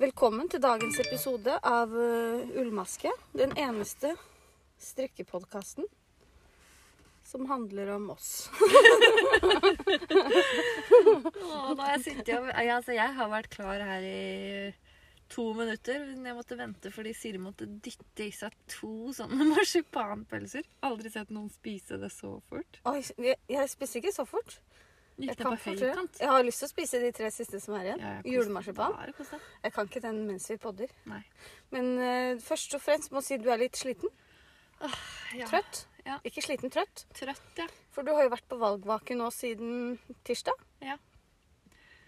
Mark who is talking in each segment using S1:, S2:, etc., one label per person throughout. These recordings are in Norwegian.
S1: Velkommen til dagens episode av eh, Ullmaske. Den eneste strikkepodkasten som handler om oss.
S2: Åh, nå har jeg sittet og jeg, altså, jeg har vært klar her i to minutter, men jeg måtte vente fordi Siri måtte dytte i seg to sånne marsipanpølser. Aldri sett noen spise det så fort.
S1: Oi, jeg, jeg spiser ikke så fort.
S2: Gikk
S1: Jeg,
S2: det
S1: kan
S2: på
S1: fortere.
S2: høykant?
S1: jeg har lyst til å spise de tre siste som er igjen.
S2: Ja, jeg koste-
S1: Julemarsipan.
S2: Bare kos deg.
S1: Jeg kan ikke den mens vi podder.
S2: Nei.
S1: Men eh, først og fremst må jeg si du er litt sliten.
S2: Ja, trøtt.
S1: Trøtt.
S2: Ja.
S1: Ikke sliten, trøtt.
S2: ja.
S1: For du har jo vært på valgvake nå siden tirsdag.
S2: ja.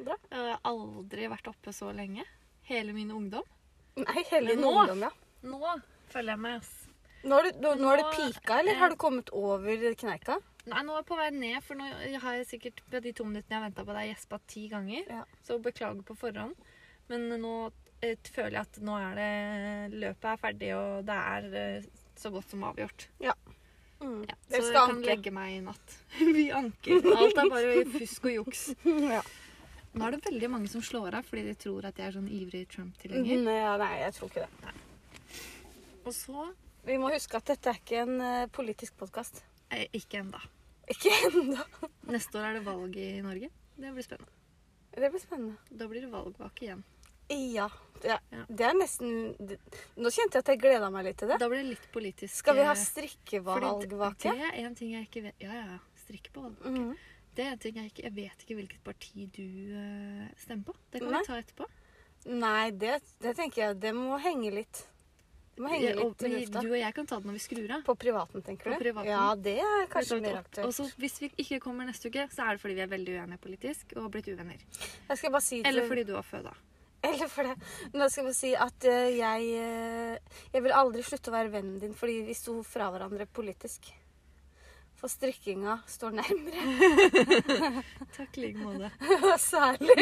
S1: Bra.
S2: Jeg har aldri vært oppe så lenge. Hele min ungdom.
S1: Nei, hele
S2: Men
S1: din
S2: nå?
S1: ungdom, ja.
S2: Nå følger jeg med. ass.
S1: Nå har du, nå, nå har du
S2: Nå-
S1: pika, eller har du kommet over kneika?
S2: Nei, nå er jeg på vei ned, for nå har jeg sikkert på de to minuttene jeg har venta på deg, gjespa ti ganger.
S1: Ja.
S2: Så beklager på forhånd. Men nå eh, føler jeg at nå er det Løpet er ferdig, og det er eh, så godt som avgjort.
S1: Mm.
S2: Ja. Så
S1: Dere
S2: jeg
S1: skal
S2: kan
S1: anke.
S2: legge meg i natt. Vi anker. Alt er bare fusk og juks.
S1: Ja.
S2: Nå er det veldig mange som slår av fordi de tror at jeg er sånn ivrig Trump-tilhenger.
S1: Nei, ja, nei, jeg tror ikke det.
S2: Mhm. Og så
S1: Vi må huske at dette er ikke en eh, politisk podkast.
S2: eh, Ikke ennå.
S1: Ikke ennå.
S2: Neste år er det valg i Norge. Det blir spennende.
S1: Det blir spennende.
S2: Da blir det valgvake igjen.
S1: Ja. Det,
S2: Ja.
S1: er- det er nesten det, Nå kjente jeg at jeg gleda meg litt til det.
S2: Da blir det litt politisk
S1: Skal vi ha
S2: eh, Fordi
S1: strikkevalgvake?
S2: Det det er en ting jeg ikke vet Ja, ja, ja. Strikke på.
S1: Mhm.
S2: Det er en ting jeg ikke Jeg vet ikke hvilket parti du eh, stemmer på. Det kan
S1: Nei.
S2: vi ta etterpå.
S1: Nei, det, det tenker jeg Det må henge litt. Det må henge
S2: Ja, og,
S1: litt i
S2: men
S1: lufta.
S2: du og jeg kan ta det når vi skrur av.
S1: På privaten, tenker
S2: På
S1: du?
S2: privaten.
S1: Ja, det er kanskje
S2: Vi tar det
S1: mer
S2: opp. Og
S1: aktuelt.
S2: så Hvis vi ikke kommer neste uke, så er det fordi vi er veldig uenige politisk og har blitt uvenner.
S1: Jeg skal bare si til-
S2: Eller fordi du var føda.
S1: Eller for det. Men da skal vi si at eh, jeg eh, Jeg vil aldri slutte å være vennen din fordi vi sto fra hverandre politisk. For strikkinga står nærmere.
S2: Takk i like måte.
S1: Særlig.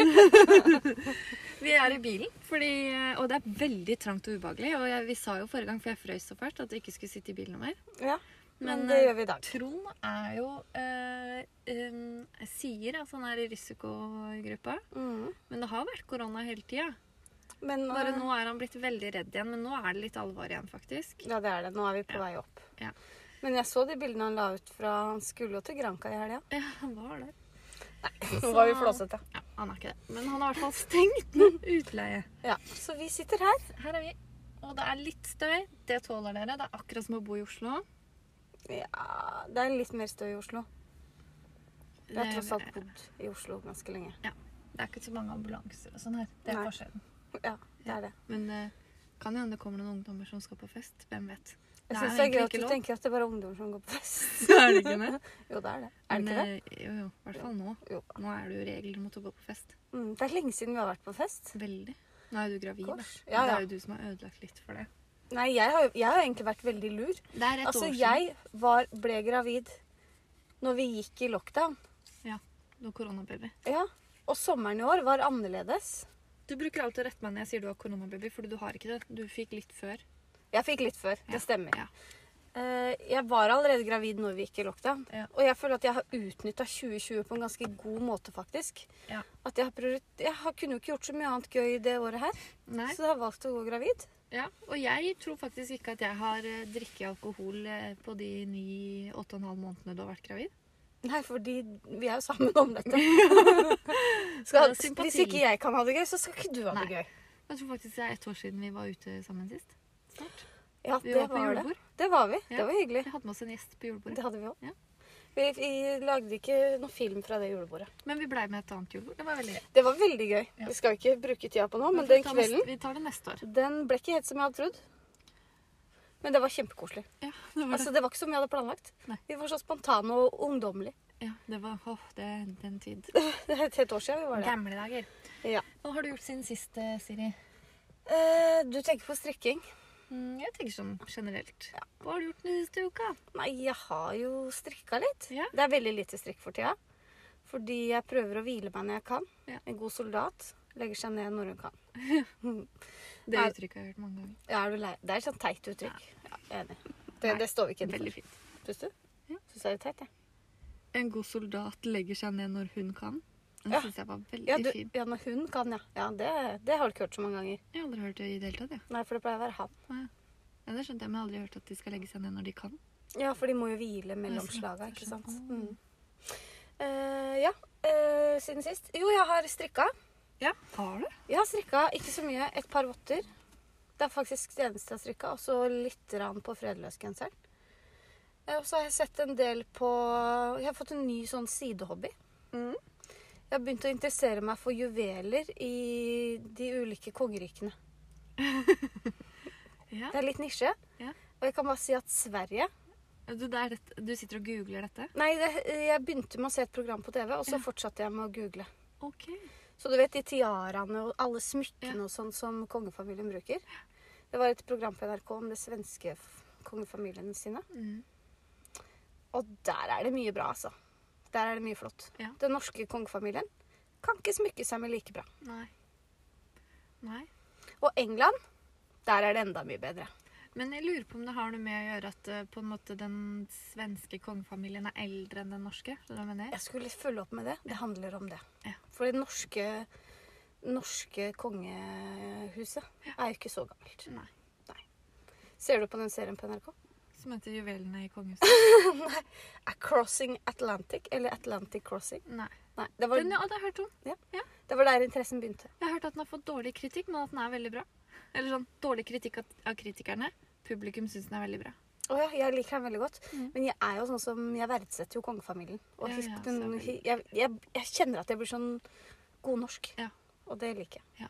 S2: Vi er i bilen, fordi, eh, og det er veldig trangt og ubehagelig. Og jeg, vi sa jo forrige gang, for jeg frøs så fælt, at vi ikke skulle sitte i bilen mer.
S1: Ja, men,
S2: Men,
S1: det
S2: eh,
S1: gjør vi i dag.
S2: Trond er jo eh, em, sier at han er i risikogruppa,
S1: Mm.
S2: men det har vært korona hele tida.
S1: Men
S2: Bare
S1: eh,
S2: nå er han blitt veldig redd igjen, men nå er det litt alvor igjen, faktisk.
S1: Ja, det er det. Nå er vi på vei opp.
S2: Ja.
S1: Men jeg så de bildene han la ut fra Han skulle jo til Granca i helga.
S2: Ja, han var det.
S1: Nå var vi flåsete.
S2: Ja, han er ikke det. Men han har i hvert fall stengt den utleie.
S1: Ja, så vi sitter her.
S2: Her er vi. Og det er litt støy. Det tåler dere. Det er akkurat som å bo i Oslo.
S1: Ja, det er litt mer støy i Oslo. Vi har
S2: Det-
S1: tross alt bodd i Oslo ganske lenge.
S2: Eh, Det er ikke så mange ambulanser og sånn her. Det er
S1: Nei.
S2: forskjellen.
S1: Ja, det er det.
S2: Men eh, kan jo hende det kommer noen ungdommer som skal på fest. Hvem vet.
S1: Jeg
S2: er
S1: syns det er
S2: egentlig
S1: gøy at
S2: ikke
S1: du
S2: lov.
S1: tenker at det er bare ungdom som går på fest.
S2: Er det ikke det? eh,
S1: Jo, det er det. Er det ikke det?
S2: Jo, jo. I hvert fall nå.
S1: eh, Jo.
S2: Nå er det jo regler mot å gå på fest.
S1: Mm, det er lenge siden vi har vært på fest.
S2: Veldig. Nå er jo du gravid, da.
S1: Gosh. Ja,
S2: Det
S1: ja.
S2: er jo du som har ødelagt litt for det.
S1: Nei, jeg har, jeg har egentlig vært veldig lur.
S2: Det er et
S1: Altså,
S2: år siden.
S1: jeg var, ble gravid når vi gikk i lockdown.
S2: Du har koronababy.
S1: Ja. Og sommeren i år var annerledes.
S2: Du bruker alltid å rette meg når jeg sier du har koronababy, fordi du har ikke det. Du fikk litt før.
S1: Jeg fikk litt før.
S2: Ja,
S1: Det stemmer.
S2: ja.
S1: Eh, Jeg var allerede gravid når vi gikk i lockdown.
S2: Ja.
S1: Og jeg føler at jeg har utnytta 2020 på en ganske god måte, faktisk.
S2: Ja.
S1: At jeg, har priori- jeg har- kunne jo ikke gjort så mye annet gøy det året her,
S2: Nei.
S1: så jeg har valgt å gå gravid.
S2: Ja. Og jeg tror faktisk ikke at jeg har eh, drikket alkohol eh, på de ni, åtte og en halv månedene du har vært gravid.
S1: Nei, fordi vi er jo sammen om dette.
S2: Ja,
S1: skal,
S2: det er sympati.
S1: hvis ikke jeg kan ha det gøy, så skal ikke du ha det
S2: Nei.
S1: gøy.
S2: Jeg tror faktisk det er ett år siden vi var ute sammen sist. Snart.
S1: Ja,
S2: Vi
S1: det
S2: var
S1: var,
S2: på
S1: det.
S2: julebord.
S1: Det var vi.
S2: Ja.
S1: Det var hyggelig.
S2: Vi hadde med oss en gjest på
S1: Det
S2: julebordet.
S1: hadde vi òg.
S2: Ja.
S1: Vi, vi lagde ikke noen film fra det julebordet.
S2: Men vi blei med et annet julebord. Det var veldig gøy.
S1: Det var veldig gøy.
S2: Ja.
S1: Vi skal jo ikke bruke tida på nå, men
S2: Vi
S1: den
S2: tar neste-
S1: kvelden
S2: Vi tar det neste år.
S1: den ble ikke helt som jeg hadde trodd. Men det var kjempekoselig.
S2: Ja, det var det.
S1: Altså, det var ikke som jeg hadde planlagt.
S2: Nei.
S1: Vi var så spontane og ungdommelige.
S2: Ja, det var åh, det er den tid.
S1: Det er et helt år siden vi var det.
S2: Gamle dager.
S1: Ja.
S2: Hva har du gjort siden sist, eh, Siri?
S1: Eh, du tenker på strikking.
S2: Mm, jeg tenker sånn generelt. Hva har du gjort den siste uka?
S1: Nei, jeg har jo strikka litt.
S2: Ja.
S1: Det er veldig lite strikk for tida. Fordi jeg prøver å hvile meg når jeg kan.
S2: Ja.
S1: En god soldat legger seg ned når hun kan.
S2: Det
S1: Nei.
S2: uttrykket har jeg hørt mange ganger.
S1: Ja, er du lei? Det er et sånt teit uttrykk. Ja, jeg er enig. Det, det står vi ikke inne
S2: Veldig
S1: for.
S2: fint.
S1: Syns du?
S2: Ja.
S1: Syns jeg det er teit, jeg.
S2: En god soldat legger seg ned når hun kan. Den
S1: Ja.
S2: synes jeg var veldig
S1: Ja, du,
S2: fin.
S1: ja, når hun kan, ja. ja det, det har du ikke hørt så mange ganger.
S2: Jeg har aldri hørt det i det hele tatt, jeg.
S1: Nei, for det pleier å være han.
S2: Ja, det skjønte jeg, men jeg har aldri hørt at de skal legge seg ned når de kan.
S1: Ja, for de må jo hvile mellom
S2: Jeg skjønner,
S1: slaga,
S2: jeg
S1: ikke sant.
S2: skjønner.
S1: Mm. Eh, ja, eh, siden sist. Jo, jeg har strikka.
S2: Ja. Har du?
S1: Jeg har strikka ikke så mye. Et par votter. Det er faktisk det eneste jeg har strikka. Og så litt rann på fredløsgenseren. Eh, Og så har jeg sett en del på Jeg har fått en ny sånn sidehobby.
S2: Mm.
S1: Jeg har begynt å interessere meg for juveler i de ulike kongerikene.
S2: Ja.
S1: Det er litt nisje.
S2: Ja.
S1: Og jeg kan bare si at Sverige
S2: Du, det er dette- du sitter og googler dette?
S1: Nei, det, jeg begynte med å se et program på TV, og så fortsatte jeg med å google.
S2: Ok.
S1: Så du vet de tiaraene og alle smykkene
S2: Ja.
S1: og sånn som kongefamilien bruker? Det var et program på NRK om det svenske f- kongefamiliene sine.
S2: Mm.
S1: Og der er det mye bra, altså. Der er det mye flott.
S2: Ja.
S1: Den norske kongefamilien kan ikke smykke seg med like bra.
S2: Nei. Nei.
S1: Og England, der er det enda mye bedre.
S2: Men jeg lurer på om det har noe med å gjøre at eh, på en måte den svenske kongefamilien er eldre enn den norske? Skjønner du hva jeg mener?
S1: Jeg skulle følge opp med det. Det handler om det.
S2: Ja.
S1: For det norske, norske kongehuset er jo ikke så gammelt.
S2: Nei.
S1: Ser du på den serien på NRK?
S2: Som heter Juvelene i kongehuset?
S1: A Crossing Atlantic, eller Atlantic Crossing.
S2: Nei.
S1: Nei, det var,
S2: Den, ja, det har jeg hørt om.
S1: det var der interessen begynte.
S2: Jeg har hørt at den har fått dårlig kritikk, men at den er veldig bra. Eller sånn dårlig kritikk av av kritikerne. Publikum syns den er veldig bra.
S1: Å ja, jeg liker den veldig godt.
S2: Mm.
S1: Men jeg er jo sånn som, jeg verdsetter jo kongefamilien. Og
S2: Ja,
S1: his-
S2: ja, så
S1: den,
S2: veldig.
S1: hi- jeg, jeg, jeg kjenner at jeg blir sånn god norsk.
S2: Ja.
S1: Og det liker jeg.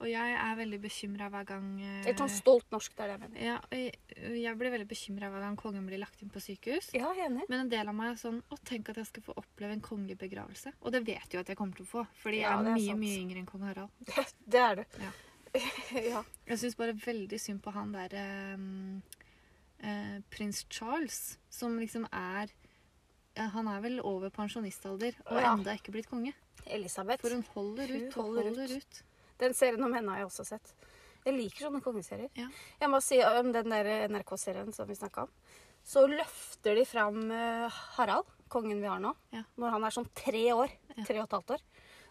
S2: Og jeg er veldig bekymra hver gang eh,
S1: Litt sånn stolt norsk, det er det jeg mener.
S2: ja, og jeg, jeg blir veldig bekymra hver gang kongen blir lagt inn på sykehus.
S1: Ja, jeg er enig.
S2: Men en del av meg er sånn Å, tenk at jeg skal få oppleve en kongelig begravelse. Og det vet jeg jo at jeg kommer til å få, fordi
S1: Ja,
S2: jeg
S1: det
S2: er
S1: er
S2: mye,
S1: sant.
S2: mye yngre enn kong Harald.
S1: Det, det er du.
S2: Ja.
S1: ja.
S2: Jeg syns bare veldig synd på han der eh, eh, prins Charles, som liksom er ja, han er vel over pensjonistalder og
S1: Ja.
S2: enda ikke blitt konge.
S1: Elisabeth.
S2: For hun holder
S1: Hun
S2: ut og
S1: holder ut.
S2: holder ut.
S1: Den serien om henne har jeg også sett. Jeg liker sånne kongeserier.
S2: Ja.
S1: Jeg må si om den der NRK-serien som vi snakka om. Så løfter de fram eh, Harald, kongen vi har nå,
S2: Ja.
S1: når han er sånn tre år.
S2: Ja.
S1: Tre og et halvt år.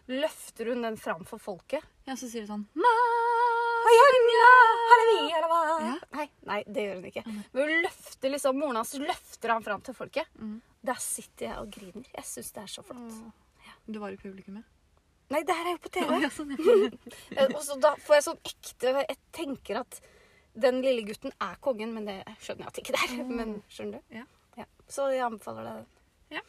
S1: Løfter hun den fram for folket.
S2: Ja, så sier hun sånn
S1: «Hei, Harald, Harald, Harald, Harald».
S2: Ja.
S1: Nei, nei, det gjør hun ikke. Men hun løfter liksom, Moren hans løfter han fram til folket.
S2: Mm.
S1: Der sitter jeg og griner. Jeg syns det er så flott.
S2: «Åh». Du var i publikummet?
S1: Nei, det her er jo på TV.
S2: Å, ja, sånn, ja.
S1: Eh, Og så da får jeg sånn ekte Jeg tenker at den lille gutten er kongen, men det skjønner jeg at ikke det er. Men skjønner du?
S2: Ja.
S1: Så jeg anbefaler deg den.
S2: Ja.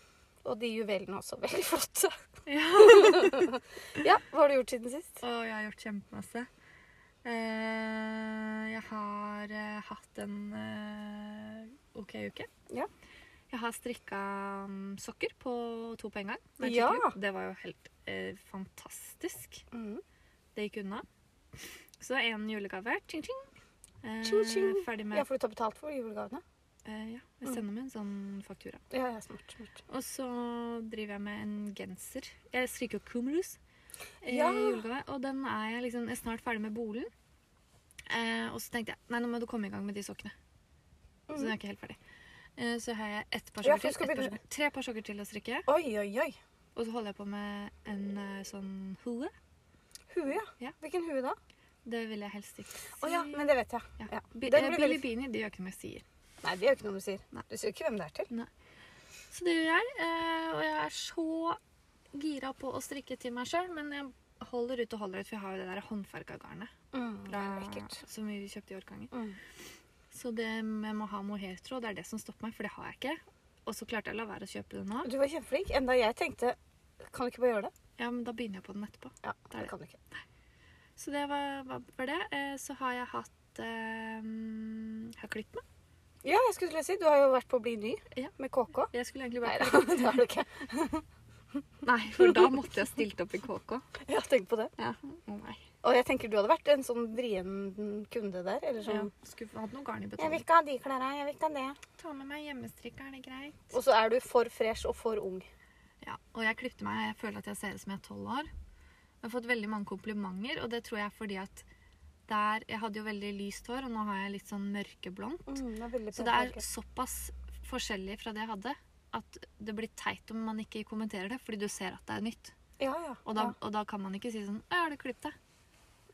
S1: Og de juvelene også. Veldig flotte.
S2: ja.
S1: Ja, hva har du gjort siden sist?
S2: Og jeg har gjort kjempemasse. Eh, jeg har eh, hatt en eh, OK uke.
S1: Ja.
S2: Jeg har strikka mm, sokker på to på en gang. Det er
S1: Ja.
S2: skikkelig. Det var jo helt eh, fantastisk.
S1: Mm.
S2: Det gikk unna. Så en julegave. Ching, ching. Eh,
S1: Tjing, tjing.
S2: Ferdig med
S1: Ja, for du tar betalt for julegavene?
S2: eh, ja, Jeg sender med en sånn faktura.
S1: Ja, ja, smart. smart.
S2: Og så driver jeg med en genser. Jeg strikker jo Kumrus. eh,
S1: Ja.
S2: Julegave, og den er jeg liksom jeg er snart ferdig med bolen. Eh, og så tenkte jeg nei, nå må du komme i gang med de sokkene. Så den er ikke helt ferdig. Eh, så har jeg ett par
S1: Mm. Ja,
S2: sokker
S1: for du
S2: til.
S1: skal
S2: ett par
S1: begynne-
S2: sokker, tre par sokker til å strikke.
S1: Oi, oi, oi.
S2: Og så holder jeg på med en eh, sånn hue.
S1: Hue, ja.
S2: Ja.
S1: Hvilken hue da?
S2: Det vil jeg helst ikke si.
S1: Å ja, men det vet jeg.
S2: Ja.
S1: Ja.
S2: Bi-
S1: Den
S2: eh,
S1: blir
S2: Billy
S1: veldig-
S2: Beanie de gjør ikke noe jeg sier.
S1: Nei, det gjør ikke noe du sier.
S2: Nei.
S1: Du sier ikke hvem det er til.
S2: Så det gjør jeg. eh, Og jeg er så gira på å strikke til meg sjøl, men jeg holder ut og holder ut, for jeg har jo det der håndfarga garnet.
S1: Mm, det
S2: fra,
S1: er ekkelt.
S2: som vi kjøpte i Orkanger.
S1: Mm.
S2: Så det med å ha mohairtråd, det er det som stopper meg, for det har jeg ikke. Og så klarte jeg å la være å kjøpe det nå.
S1: Du var kjempeflink. Enda jeg tenkte Kan du ikke bare gjøre det?
S2: Ja, men da begynner jeg på den etterpå.
S1: Ja,
S2: er
S1: det
S2: det.
S1: kan du ikke.
S2: Så det var, var, var det. Eh, Så har jeg hatt eh, Jeg har klippet meg.
S1: Ja, jeg skulle til å si, du har jo vært på Bli ny
S2: Ja.
S1: med KK.
S2: Jeg skulle egentlig
S1: Nei
S2: bare
S1: da, det har du ikke.
S2: Nei, for da måtte jeg stilt opp i KK.
S1: Jeg har tenkt på det.
S2: Ja. Å nei.
S1: Og jeg tenker du hadde vært en sånn vrien kunde der. Eller
S2: Ja.
S1: sånn
S2: Skulle hatt noe garn i
S1: Jeg vil
S2: betaling.
S1: ikke ha de klærne, jeg vil ikke ha det.
S2: Ta med meg hjemmestrikka, er det greit?
S1: Og så er du for fresh og for ung.
S2: Ja, og jeg klippte meg. Jeg føler at jeg ser ut som jeg er tolv år. Jeg har fått veldig mange komplimenter, og det tror jeg er fordi at der, jeg hadde jo veldig lyst hår, og nå har jeg litt sånn mørkeblondt.
S1: Mm, det er veldig
S2: Så det er såpass forskjellig fra det jeg hadde, at det blir teit om man ikke kommenterer det, fordi du ser at det er nytt.
S1: Ja, ja.
S2: Og da, og da kan man ikke si sånn «Å, 'Har du klippet deg?'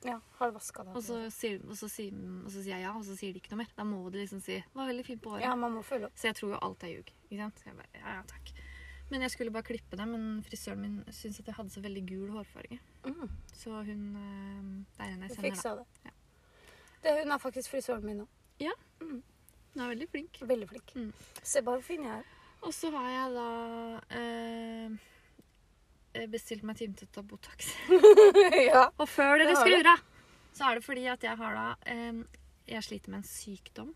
S1: ja. ja. Har du vaska det?
S2: Og så, sier, og, så sier, og så sier jeg ja, og så sier de ikke noe mer. Da må de liksom si 'Var veldig fint på håret'.
S1: Ja, man må følge opp.
S2: Så jeg tror jo alt er ljug. Ikke sant? Så jeg bare, ja, ja, takk. Men jeg skulle bare klippe det, men frisøren min syntes at jeg hadde så veldig gul hårfarge.
S1: Mm.
S2: Så hun eh, Det er henne jeg
S1: Du
S2: sender, da.
S1: fiksa det. det. Hun er faktisk frisøren min nå.
S2: Hun er veldig flink.
S1: Veldig flink.
S2: Mm.
S1: Se bare hvor fin jeg er.
S2: Og så har jeg da eh, bestilt meg timetett av Botox.
S1: ja.
S2: Og før dere
S1: Det har du.
S2: skrur av, så er det fordi at jeg har da eh, Jeg sliter med en sykdom.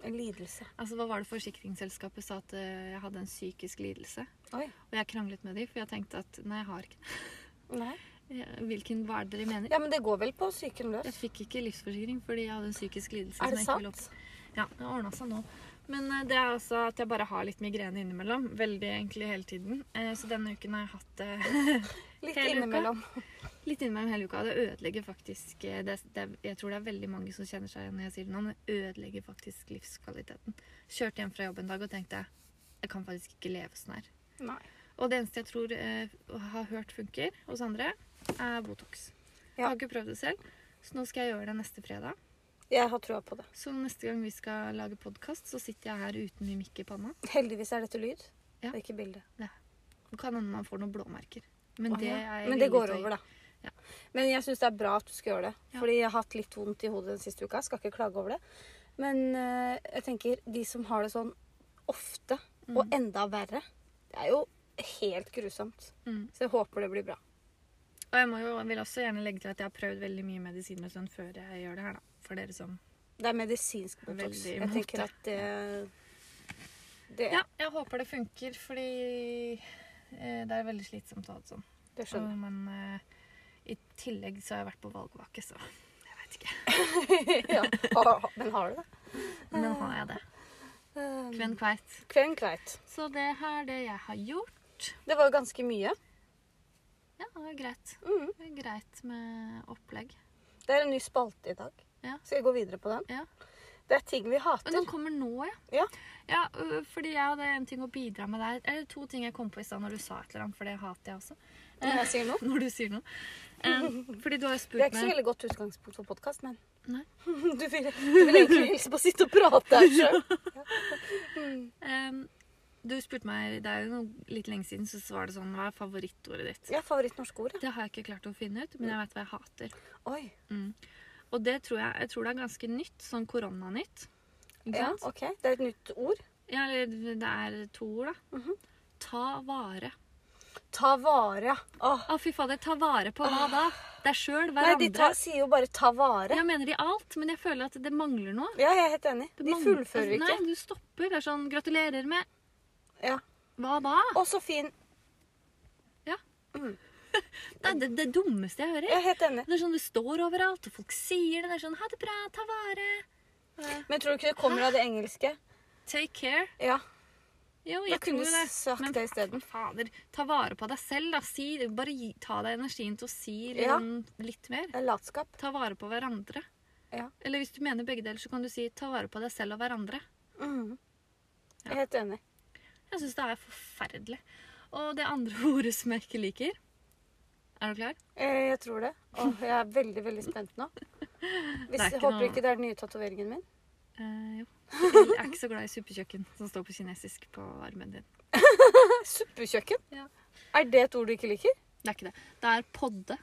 S1: En lidelse.
S2: Altså, Hva var det forsikringsselskapet sa at eh, jeg hadde en psykisk lidelse?
S1: Oi.
S2: Og jeg kranglet med dem, for jeg tenkte at nei, jeg har ikke det.
S1: Nei.
S2: Eh, Hvilken hva er det dere mener?
S1: Ja, men det går vel på psyken løs.
S2: Jeg fikk ikke livsforsikring fordi jeg hadde en psykisk lidelse.
S1: Er det
S2: som jeg ikke ville
S1: sant?
S2: opp- Ja, det ordna seg nå. Men eh, det er altså at jeg bare har litt migrene innimellom. Veldig egentlig hele tiden. Eh, Så denne uken har jeg hatt det
S1: Litt
S2: Hele uka.
S1: innimellom.
S2: litt innimellom hele uka. Det ødelegger faktisk eh, det, det, Jeg tror det er veldig mange som kjenner seg igjen når jeg sier det nå, men det ødelegger faktisk livskvaliteten. Kjørte hjem fra jobb en dag og tenkte jeg kan faktisk ikke leve sånn her.
S1: Nei.
S2: Og det eneste jeg tror eh, har hørt funker hos andre, er Botox. Jeg
S1: Ja.
S2: har ikke prøvd det selv, så nå skal jeg gjøre det neste fredag.
S1: Jeg har trua på det.
S2: Så neste gang vi skal lage podkast, så sitter jeg her uten mimikk i panna.
S1: Heldigvis er dette lyd,
S2: Ja.
S1: og ikke bilde.
S2: Det kan hende man får noen blåmerker. Men det, er jeg
S1: Men det
S2: villig
S1: går
S2: til å gi.
S1: over, da.
S2: Ja.
S1: Men jeg syns det er bra at du skal gjøre det.
S2: Ja.
S1: Fordi jeg har hatt litt vondt i hodet den siste uka. Skal ikke klage over det. Men eh, jeg tenker de som har det sånn ofte,
S2: Mm.
S1: og enda verre, det er jo helt grusomt.
S2: Mm.
S1: Så jeg håper det blir bra.
S2: Og jeg må jo, vil også gjerne legge til at jeg har prøvd veldig mye medisiner og sånn før jeg gjør det her, da. For dere som
S1: Det er medisinsk botox.
S2: Veldig
S1: Jeg
S2: imot
S1: tenker
S2: det.
S1: at det, det
S2: Ja, jeg håper det funker, fordi eh, det er veldig slitsomt å ha det sånn.
S1: Det skjønner jeg.
S2: Og- Men eh, i tillegg så har jeg vært på valgvake, så jeg vet ikke.
S1: ja. Ha- ha- Men har du det?
S2: Men har jeg det.
S1: Um,
S2: Kven kveit.
S1: Kven kveit.
S2: Så det her, det jeg har gjort
S1: Det var jo ganske mye.
S2: Ja, det er greit.
S1: Mhm.
S2: Det er greit med opplegg.
S1: Det er en ny spalte i dag.
S2: Ja.
S1: Skal jeg gå videre på den?
S2: Ja.
S1: Det er ting vi hater.
S2: Men den kommer nå, ja.
S1: Ja.
S2: Ja, øh, fordi jeg hadde en ting å bidra med der. Eller to ting jeg kom på i stad når du sa et eller annet, for det hater jeg også.
S1: Når jeg sier noe.
S2: Når du sier noe. Um, fordi du har
S1: Det
S2: jo
S1: er
S2: spurt
S1: ikke så
S2: meg
S1: veldig godt utgangspunkt for podkast, men
S2: Nei.
S1: du, vil, du vil egentlig helst bare sitte og prate her sjøl.
S2: um, Du spurte meg, det er jo noe, litt lenge siden, så var det sånn Hva er favorittordet ditt?
S1: Ja, favorittnorske ord, ja.
S2: Det har jeg ikke klart å finne ut, men jeg vet hva jeg hater.
S1: Oi.
S2: Og det tror jeg, jeg tror det er ganske nytt. Sånn koronanytt. Ikke
S1: Ja,
S2: sant?
S1: ok. Det er et nytt ord.
S2: Ja, eller det er to ord, da.
S1: Mhm.
S2: Ta vare.
S1: Ta vare. Åh.
S2: Å, fy fader. Ta vare på hva da? Deg
S1: Ah. Nei,
S2: sjøl?
S1: de
S2: Hverandre?
S1: tar, sier jo bare 'ta vare'.
S2: Jeg mener i alt, men jeg føler at det mangler noe.
S1: Ja, jeg er helt enig.
S2: Det
S1: De
S2: mangler-
S1: fullfører
S2: altså,
S1: ikke.
S2: Nei, du stopper. Det er sånn Gratulerer med
S1: Ja.
S2: Hva da?
S1: Og så fin.
S2: Det er det, det dummeste jeg
S1: Jeg
S2: hører.
S1: er helt enig.
S2: Det er sånn det står overalt, og folk sier det. Det er sånn Ha det bra, ta vare.
S1: Men tror du ikke det kommer av det engelske?
S2: Take care.
S1: Ja.
S2: Jo,
S1: Da
S2: jeg tror
S1: kunne
S2: jo
S1: du
S2: det.
S1: sagt
S2: Men
S1: det isteden.
S2: fader, ta vare på deg selv, da. Si, bare gi, ta deg energien til å si
S1: Ja.
S2: liksom, litt mer.
S1: Det er latskap.
S2: Ta vare på hverandre.
S1: Ja.
S2: Eller hvis du mener begge deler, så kan du si ta vare på deg selv og hverandre. Mm.
S1: Mhm. Jeg
S2: Ja.
S1: er helt enig.
S2: Jeg syns det er forferdelig. Og det andre ordet som jeg ikke liker Er du klar?
S1: Eh, Jeg tror det. Åh, jeg er veldig veldig spent nå. Hvis,
S2: Det er ikke
S1: håper
S2: noe-
S1: ikke det er den nye tatoveringen min.
S2: Eh, jo. Jeg er ikke så glad i suppekjøkken som står på kinesisk på armen din.
S1: Eh, Suppekjøkken?
S2: Ja.
S1: Er det et ord du ikke liker?
S2: Det er ikke det. Det er podde.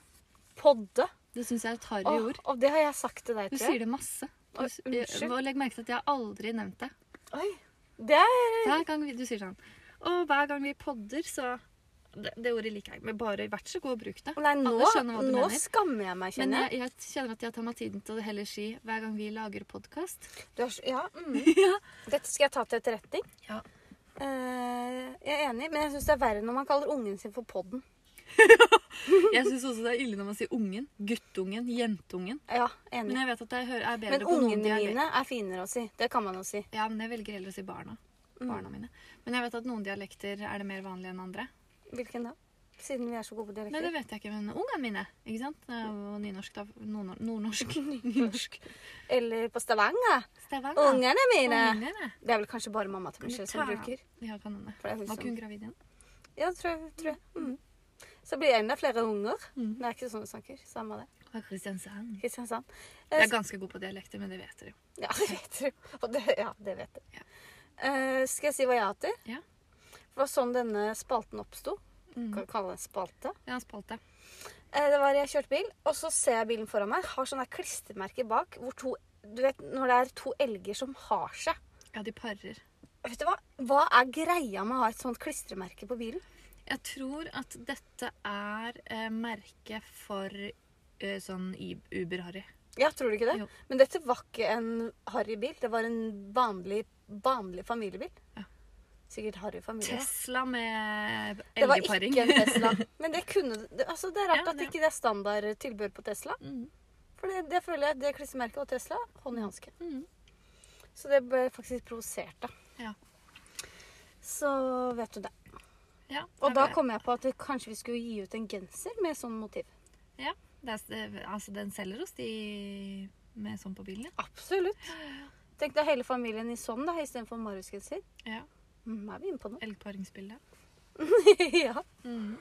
S1: Podde.
S2: Det syns jeg er et harry
S1: Åh,
S2: ord.
S1: og det har jeg sagt til deg,
S2: Du
S1: tror
S2: sier
S1: jeg.
S2: det masse. Du,
S1: Oi,
S2: s- jeg-
S1: unnskyld.
S2: og legg merke til at jeg har aldri nevnt det.
S1: Oi. Det er
S2: Hver gang vi, du sier sånn Og hver gang vi podder, så Det, det ordet liker jeg. Men bare vær så god og bruk det.
S1: Nei, nå,
S2: Alle skjønner hva du
S1: nå
S2: mener.
S1: skammer jeg meg,
S2: Men
S1: kjenner jeg.
S2: jeg, jeg kjenner at jeg tar meg tiden til å heller si hver gang vi lager podkast.
S1: Du er, så- ja, mm.
S2: Ja.
S1: Dette skal jeg ta til etterretning.
S2: Ja.
S1: Eh, jeg er enig, men jeg syns det er verre når man kaller ungen sin for podden.
S2: Jeg syns også det er ille når man sier ungen. Guttungen. Jentungen.
S1: Ja, enig.
S2: Men jeg vet at det hører- er bedre
S1: Men
S2: på noen
S1: ungene
S2: dialekter.
S1: mine er finere å si. Det kan man jo si.
S2: Ja, men jeg velger heller å si barna.
S1: Mm.
S2: Barna mine. Men jeg vet at noen dialekter er det mer vanlig enn andre.
S1: Hvilken da? Siden vi er så gode på
S2: Nei, det
S1: dialekter.
S2: vet jeg ikke, men ungene mine, ikke sant? Det er jo nynorsk, da. Nordnor- Nordnorsk. Nynorsk.
S1: Eller på Stavanger.
S2: Stavanger.
S1: Ungene mine!
S2: Ungene.
S1: Det er vel kanskje bare mamma til Michelle som
S2: Ta-
S1: bruker.
S2: Ja, kan hende.
S1: For det er hun
S2: Var ikke
S1: som...
S2: hun gravid igjen?
S1: Ja, tror jeg. Tror jeg. Mm. Så blir jeg enda flere unger.
S2: Mm.
S1: Det er ikke sånn du snakker. Samme det.
S2: Fra Kristiansand.
S1: Kristiansand. Eh,
S2: Jeg er ganske god på dialekter, men det vet dere jo.
S1: Ja, det vet du. Og det, ja, det vet du.
S2: Ja.
S1: Eh, skal jeg si hva jeg hater?
S2: Ja.
S1: Det var sånn denne spalten oppsto. Kan
S2: Mm.
S1: vi kalle det en spalte.
S2: Jeg har spalt det.
S1: Eh, det var jeg kjørte bil, og så ser jeg bilen foran meg. Har sånne her klistremerker bak hvor to Du vet når det er to elger som har seg.
S2: Ja, de parer.
S1: Vet du hva? Hva er greia med å ha et sånt klistremerke på bilen?
S2: Jeg tror at dette er eh, merket for eh, sånn I- Uber-Harry.
S1: Ja, tror du ikke det?
S2: Jo.
S1: Men dette var ikke en harrybil. Det var en vanlig, vanlig familiebil.
S2: Ja.
S1: Sikkert harryfamilie. da.
S2: Tesla med
S1: Det var ikke
S2: elgparing.
S1: en Tesla. Men det kunne det, altså det er rart
S2: Ja,
S1: at
S2: det-
S1: ikke det er standardtilbør på Tesla.
S2: Mm,
S1: For det, det føler jeg, det klistremerket og Tesla, hånd i hanske.
S2: mm.
S1: Så det ble jeg faktisk provosert, da.
S2: Ja.
S1: Så vet du det.
S2: Ja,
S1: Og
S2: det
S1: da
S2: er-
S1: kom jeg på at vi- kanskje vi skulle gi ut en genser med sånn motiv.
S2: Ja, det er, det- altså den selger oss de med sånn på bilen, ja.
S1: Absolutt. Tenk deg hele familien i sånn, da, istedenfor Marius-genser.
S2: ja.
S1: Mm, er vi inne på noe?
S2: Elgparingsbildet.
S1: ja. Eh,
S2: Mm.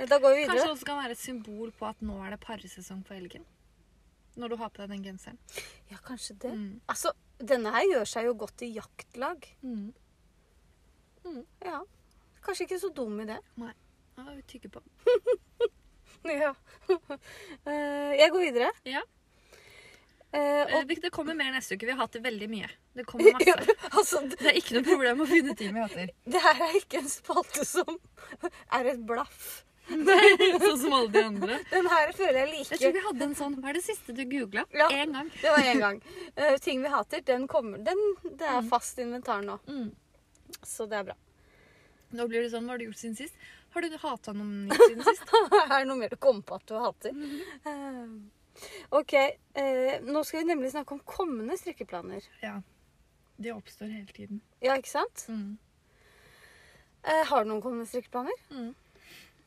S1: Da går vi
S2: Kanskje det
S1: videre.
S2: også kan være et symbol på at nå er det paresesong for elgen. Når du har på deg den genseren.
S1: Ja, kanskje det.
S2: Mm.
S1: Altså, denne her gjør seg jo godt i jaktlag.
S2: Mm.
S1: Ja. Kanskje ikke så dum i det.
S2: Nei, nå må vi tygge på.
S1: Ja. Eh, jeg går videre.
S2: Ja,
S1: Eh,
S2: eh,
S1: og,
S2: vi- det kommer mer neste uke. Vi har hatt det veldig mye. Det kommer
S1: ja,
S2: Eh, masse.
S1: altså, det-
S2: Det er ikke noe problem å finne ting vi hater.
S1: det her er ikke en spalte som er et blaff.
S2: Sånn som alle de andre.
S1: Den her føler jeg
S2: Jeg tror
S1: liker.
S2: vi hadde en sånn Hva er det siste du googla?
S1: Ja.
S2: Én gang.
S1: Det var én gang. Eh, ting vi hater, den kommer. Den, det er fast inventar nå,
S2: Mm.
S1: så det er bra.
S2: Nå blir det sånn Hva har du gjort siden sist? Har du hata noen siden sist?
S1: er det noe mer du kommer på at du hater? Eh, ok, eh, nå skal vi nemlig snakke om kommende strikkeplaner.
S2: Ja. Det oppstår hele tiden.
S1: Ja, ikke sant?
S2: Mm.
S1: Eh, har du noen kommende strikkeplaner?
S2: Mm.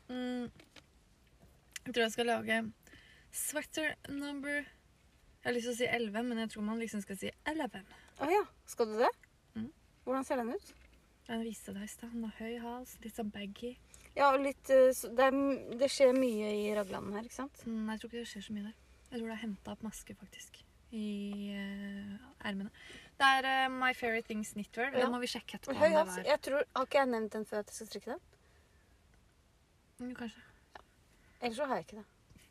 S2: Jeg tror jeg skal lage sweater number Jeg har lyst til å si 11, men jeg tror man liksom skal si 11.
S1: Å ja, skal du det?
S2: Mm.
S1: Hvordan ser den ut?
S2: Den viste deg i stad. Den har høy hals, litt sånn baggy.
S1: Ja, og litt eh, så det, er, m- det skjer mye i Ragland her, ikke sant?
S2: Mm, jeg tror ikke det skjer så mye der. Jeg tror det er henta opp maske, faktisk. I eh, ermene. Det er eh, My Fairy Things Knitwear.
S1: Ja.
S2: Det må vi sjekke etterpå.
S1: Høy
S2: om
S1: hals.
S2: det var.
S1: Jeg tror, har ikke jeg nevnt den før at jeg skal strikke den?
S2: Mm, Kanskje.
S1: Ellers så har jeg ikke det.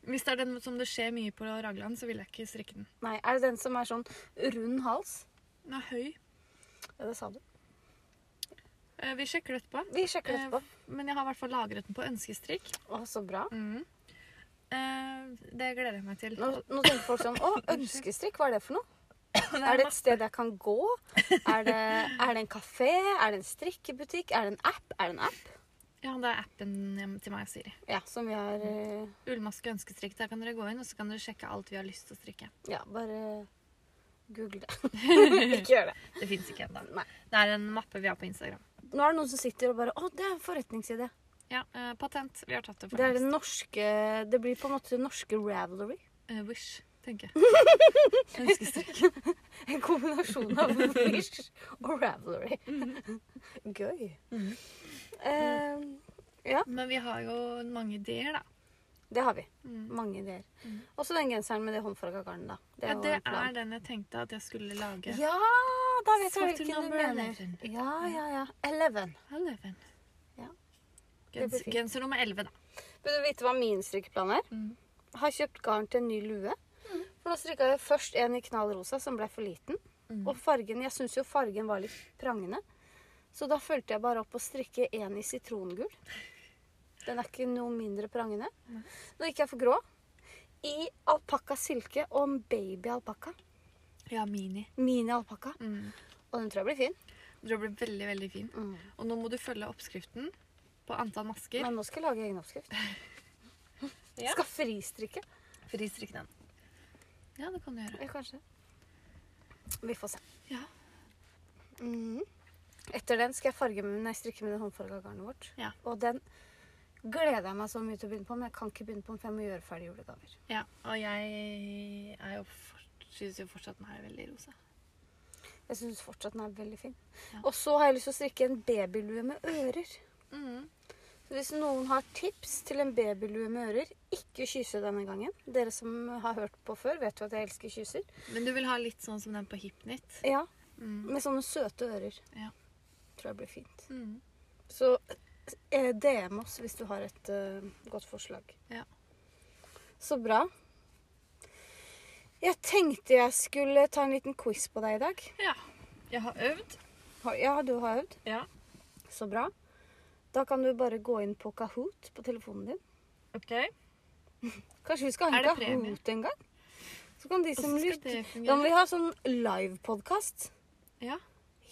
S2: Hvis det er den som det skjer mye på Ragland, så vil jeg ikke strikke den.
S1: Nei, Er det den som er sånn rund hals?
S2: Den er høy.
S1: Ja, det sa du.
S2: Eh, vi sjekker det etterpå.
S1: Vi sjekker
S2: Eh,
S1: etterpå.
S2: Men jeg har i hvert fall lagret den på ønskestrikk.
S1: Å, så bra.
S2: Mm. Eh, det gleder jeg meg til.
S1: Nå, nå tenker folk sånn Å, ønskestrikk, hva er det for noe?
S2: Det er
S1: Er det et
S2: masse-
S1: sted jeg kan gå? Er det, er det en kafé? Er det en strikkebutikk? Er det en app? Er det en app?
S2: Ja, det er appen hjem til meg, Siri.
S1: Ja, som vi har eh,
S2: Ullmaske og ønskestrikk. Der kan dere gå inn, og så kan dere sjekke alt vi har lyst til å strikke.
S1: Ja, bare google det. Ikke gjør det.
S2: Det fins ikke ennå.
S1: Nei.
S2: Det er en mappe vi har på Instagram.
S1: Nå er det noen som sitter og bare Å, det er en forretningsidé.
S2: Ja, eh, patent. Vi har tatt det for
S1: Det er
S2: lengst.
S1: det norske Det blir på en måte det norske Ravelry.
S2: Eh, wish, tenker jeg. Ønskestrikk.
S1: En kombinasjon av Wish og Ravelry.
S2: Mm.
S1: Gøy.
S2: Mhm.
S1: Eh,
S2: Men vi har jo mange ideer, da.
S1: det har vi.
S2: Mm.
S1: Mange ideer.
S2: Mhm.
S1: Også den genseren med det håndfarga garnet, da. Det er
S2: Ja,
S1: jo
S2: det
S1: en plan.
S2: er den jeg tenkte at jeg skulle lage.
S1: Ja, da vet jeg
S2: Sweater
S1: hvilken du
S2: number
S1: mener.
S2: 11.
S1: Ja, ja, ja.
S2: Mm.
S1: Eleven.
S2: Eleven.
S1: Ja. Det blir
S2: Gens,
S1: fint.
S2: genser nummer 11, da.
S1: Vil du vite hva min strikkeplan er?
S2: Mm.
S1: Har kjøpt garn til en ny lue. For nå strikka jeg først en i knallrosa som ble for liten.
S2: Mm.
S1: Og fargen, jeg syns jo fargen var litt prangende. Så da fulgte jeg bare opp å strikke en i sitrongul. Den er ikke noe mindre prangende.
S2: Nei.
S1: Nå gikk jeg for grå. I alpakka silke og en baby alpakka.
S2: Ja, mini.
S1: Mini alpakka.
S2: Mm.
S1: Og den tror jeg blir fin.
S2: Det blir veldig, veldig fin. Og nå må du følge oppskriften på antall masker.
S1: Men nå skal jeg lage egen oppskrift.
S2: Ja.
S1: Skal fristrikke.
S2: Fristrikk den. Ja, det kan du gjøre.
S1: Ja, kanskje. Vi får se.
S2: Ja.
S1: Mhm. Etter den skal jeg farge med, nei, strikke med det håndfarga garnet vårt.
S2: Ja.
S1: Og den gleder jeg meg så mye til å begynne på, men jeg kan ikke begynne på den, for jeg må gjøre ferdig julegaver.
S2: ja. Og jeg er jo for, synes jo fortsatt den her er veldig rosa.
S1: Jeg syns fortsatt den er veldig fin.
S2: Ja. Mm.
S1: Og så har jeg lyst til å strikke en babylue med ører. Så hvis noen har tips til en babylue med ører, ikke kyse denne gangen. Dere som har hørt på før, vet jo at jeg elsker kyser.
S2: Men du vil ha litt sånn som den på Hipnit?
S1: Ja,
S2: Mm.
S1: med sånne søte ører.
S2: Ja.
S1: Tror jeg blir fint.
S2: Mm.
S1: Så eh, DM oss hvis du har et eh, godt forslag.
S2: Ja.
S1: Så bra. Jeg tenkte jeg skulle ta en liten quiz på deg i dag.
S2: Ja. Jeg har øvd.
S1: Har- Ja, du har øvd.
S2: Ja.
S1: Så bra. Da kan du bare gå inn på Kahoot på telefonen din.
S2: Ok.
S1: Kanskje vi skal ha
S2: Er
S1: en
S2: det premie?
S1: Kahoot en gang? Så kan de
S2: Og
S1: som
S2: så skal
S1: lytter
S2: det
S1: Da må
S2: fungere.
S1: vi ha sånn livepodkast.
S2: Ja.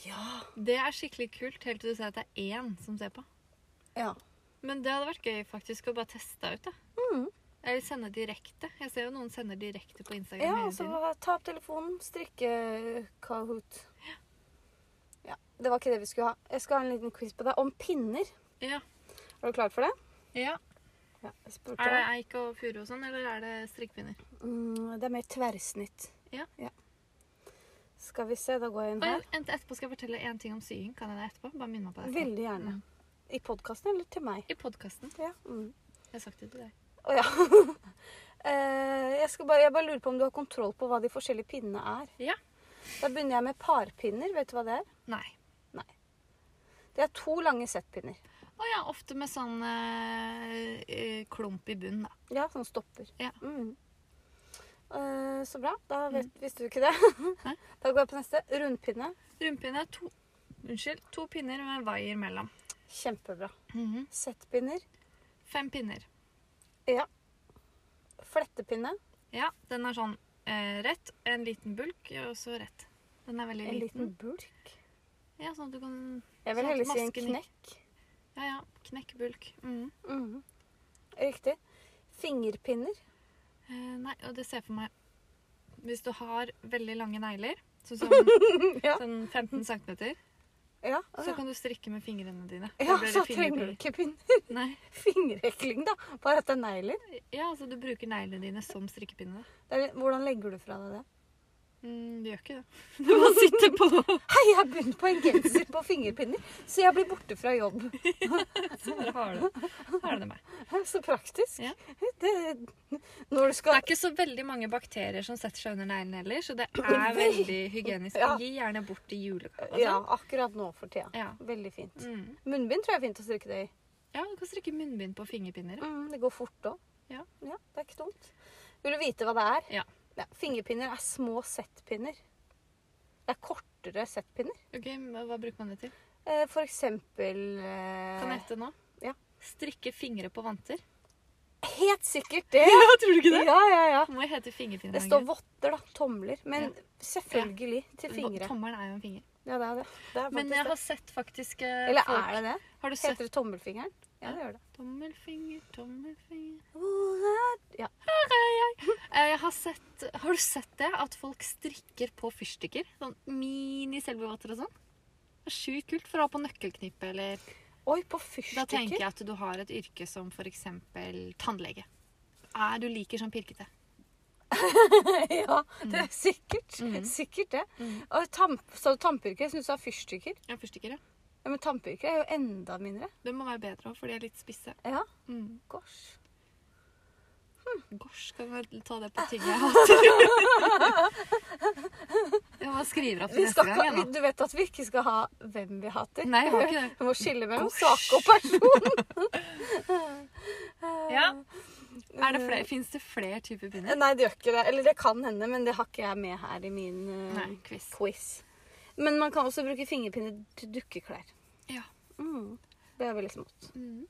S1: Ja.
S2: Det er skikkelig kult, helt til du ser at det er én som ser på.
S1: ja.
S2: Men det hadde vært gøy faktisk å bare teste ut, da.
S1: Mm.
S2: Eller sende direkte. Jeg ser jo noen sender direkte på Instagram
S1: Ja,
S2: hele
S1: så
S2: tiden.
S1: ta opp telefonen, strikke eh, Kahoot. Ja, Det var ikke det vi skulle ha. Jeg skal ha en liten quiz på deg om pinner.
S2: Ja.
S1: Er du klar for det?
S2: ja.
S1: Ja, jeg spurte
S2: Er det
S1: deg.
S2: eik og furu og sånn, eller er det strikkepinner?
S1: Mm, det er mer tverrsnitt.
S2: Ja.
S1: Skal vi se, da går jeg inn
S2: Og
S1: her.
S2: en- etterpå skal jeg fortelle en ting om sying. Kan jeg det etterpå? Bare minne meg på det. etterpå.
S1: Veldig gjerne.
S2: Mm.
S1: I podkasten eller til meg?
S2: I podkasten.
S1: Ja. Mm.
S2: Jeg har sagt det til deg.
S1: Å ja. Eh, jeg, skal bare, jeg bare lurer på om du har kontroll på hva de forskjellige pinnene er.
S2: Ja.
S1: Da begynner jeg med parpinner. Vet du hva det er?
S2: Nei.
S1: Det er to lange settpinner.
S2: Å ja, ofte med sånn eh, eh, klump i bunnen, da.
S1: Ja, sånn stopper.
S2: Ja.
S1: Mm. Eh, så bra. Da vet,
S2: Mm.
S1: visste du ikke det.
S2: Nei.
S1: da går jeg på neste. Rundpinne.
S2: Rundpinne er to Unnskyld. To pinner med vaier mellom.
S1: Kjempebra.
S2: Mhm.
S1: Settpinner.
S2: Fem pinner.
S1: Ja. Flettepinne.
S2: Ja, den er sånn eh, rett, en liten bulk, og så rett. Den er veldig
S1: En
S2: liten.
S1: liten bulk.
S2: Ja, sånn at du kan
S1: Jeg vil
S2: Sånn at
S1: heller si en
S2: masken ikke-
S1: knekk.
S2: Ja, ja. Knekke bulk. Mhm.
S1: Mhm. Riktig. Fingerpinner.
S2: Eh, nei, og det ser jeg for meg Hvis du har veldig lange negler, sånn som
S1: Ja.
S2: sånn 15 cm,
S1: Ja,
S2: så kan du strikke med fingrene dine. Da
S1: ja
S2: blir det
S1: så trenger du
S2: fingerpinner.
S1: ikke pinner.
S2: Nei.
S1: Fingerhekling, da. Bare at det er negler.
S2: Ja, altså du bruker neglene dine som strikkepinne. da.
S1: Det er- Hvordan legger du fra deg det?
S2: Mm, du gjør ikke det. Du må sitte på
S1: Hei, jeg har begynt på en genser på fingerpinner, så jeg blir borte fra jobb.
S2: Så bare Sånn, har du har du det med.
S1: Så praktisk.
S2: Ja.
S1: Det, når du
S2: Det
S1: skal
S2: er ikke så veldig mange bakterier som setter seg under neglene heller, så det er veldig hygienisk.
S1: Ja.
S2: Gi gjerne bort i julegave. og
S1: Ja,
S2: sånn.
S1: akkurat nå for tida.
S2: Ja.
S1: Veldig fint.
S2: Mm.
S1: Munnbind tror jeg er fint å strikke det i.
S2: ja, du kan strikke munnbind på fingerpinner.
S1: Mm, det går fort òg.
S2: Ja.
S1: det er ikke dumt. Vil du vite hva det er?
S2: Ja.
S1: fingerpinner er små settpinner. Det er kortere settpinner.
S2: Ok, men Hva bruker man det til?
S1: Eh, For eksempel
S2: Kan jeg
S1: eh,
S2: hette nå?
S1: ja.
S2: Strikke fingre på vanter.
S1: Helt sikkert det!
S2: tror du
S1: Ja, ja, ja.
S2: Må jo hete fingerpinner.
S1: Det står votter, da. Tomler. Men
S2: Ja.
S1: selvfølgelig til fingre.
S2: Tommelen er jo en finger.
S1: Ja, det er det. det er
S2: Men
S1: faktisk
S2: jeg
S1: det.
S2: har sett faktisk eh,
S1: Eller
S2: folk-
S1: er det det?
S2: Har du sett
S1: Heter det tommelfingeren? Ja,
S2: Ja.
S1: det gjør det.
S2: Tommelfinger, tommelfinger
S1: Ja.
S2: Eh, Jeg har sett Har du sett det? At folk strikker på fyrstikker? Sånn mini-selbuvotter og sånn. Det er sjukt kult for å ha på nøkkelknippet eller
S1: Oi, på
S2: Da tenker
S1: fyrstikker?
S2: jeg at du har et yrke som f.eks. tannlege. Er du liker sånn pirkete?
S1: ja, det er sikkert.
S2: Mhm.
S1: Sikkert det.
S2: Mhm.
S1: Og tamp, så tannpirker? Jeg syns du sa fyrstikker.
S2: Ja, fyrstikker, ja.
S1: Ja, men tannpirker er jo enda mindre.
S2: Det må være bedre òg, for de er litt spisse.
S1: Ja,
S2: Mm.
S1: gosh.
S2: Gosh, kan vi ta det på ting jeg hater? Jeg bare skriver opp
S1: Vi
S2: til
S1: skal,
S2: neste gang.
S1: ikke-
S2: jeg,
S1: du vet at vi ikke skal ha hvem vi hater?
S2: da. Nei, jeg har ikke det.
S1: Vi må skille mellom
S2: Gosh.
S1: sak og person.
S2: Ja. Er det flere, Fins det flere typer pinner?
S1: Nei, det gjør ikke det. Eller det kan hende, men det har ikke jeg med her i min eh,
S2: Nei, quiz.
S1: quiz. Men man kan også bruke fingerpinner til dukkeklær.
S2: Ja.
S1: Mm. Det er veldig smått.
S2: Mm.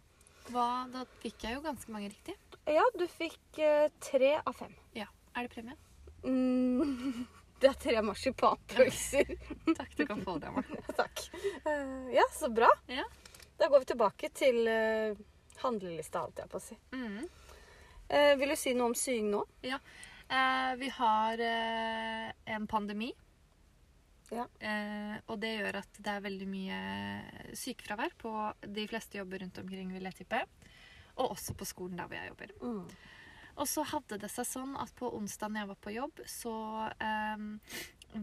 S2: Hva, da fikk jeg jo ganske mange riktig.
S1: Ja, du fikk eh, tre av fem.
S2: Ja. Er det premie?
S1: Mm, det er tre marsipanpølser.
S2: Takk, du kan få det av meg.
S1: Takk. Eh, ja, så bra.
S2: Ja.
S1: Da går vi tilbake til eh, handlelista, holdt jeg på å si.
S2: Mm.
S1: Eh, vil du si noe om sying nå?
S2: Eh, vi har eh, en pandemi.
S1: Ja.
S2: Eh, og det gjør at det er veldig mye sykefravær på de fleste jobber rundt omkring, vil jeg tippe. Og også på skolen der hvor jeg jobber.
S1: Mm.
S2: Og så hadde det seg sånn at på onsdag når jeg var på jobb, så em,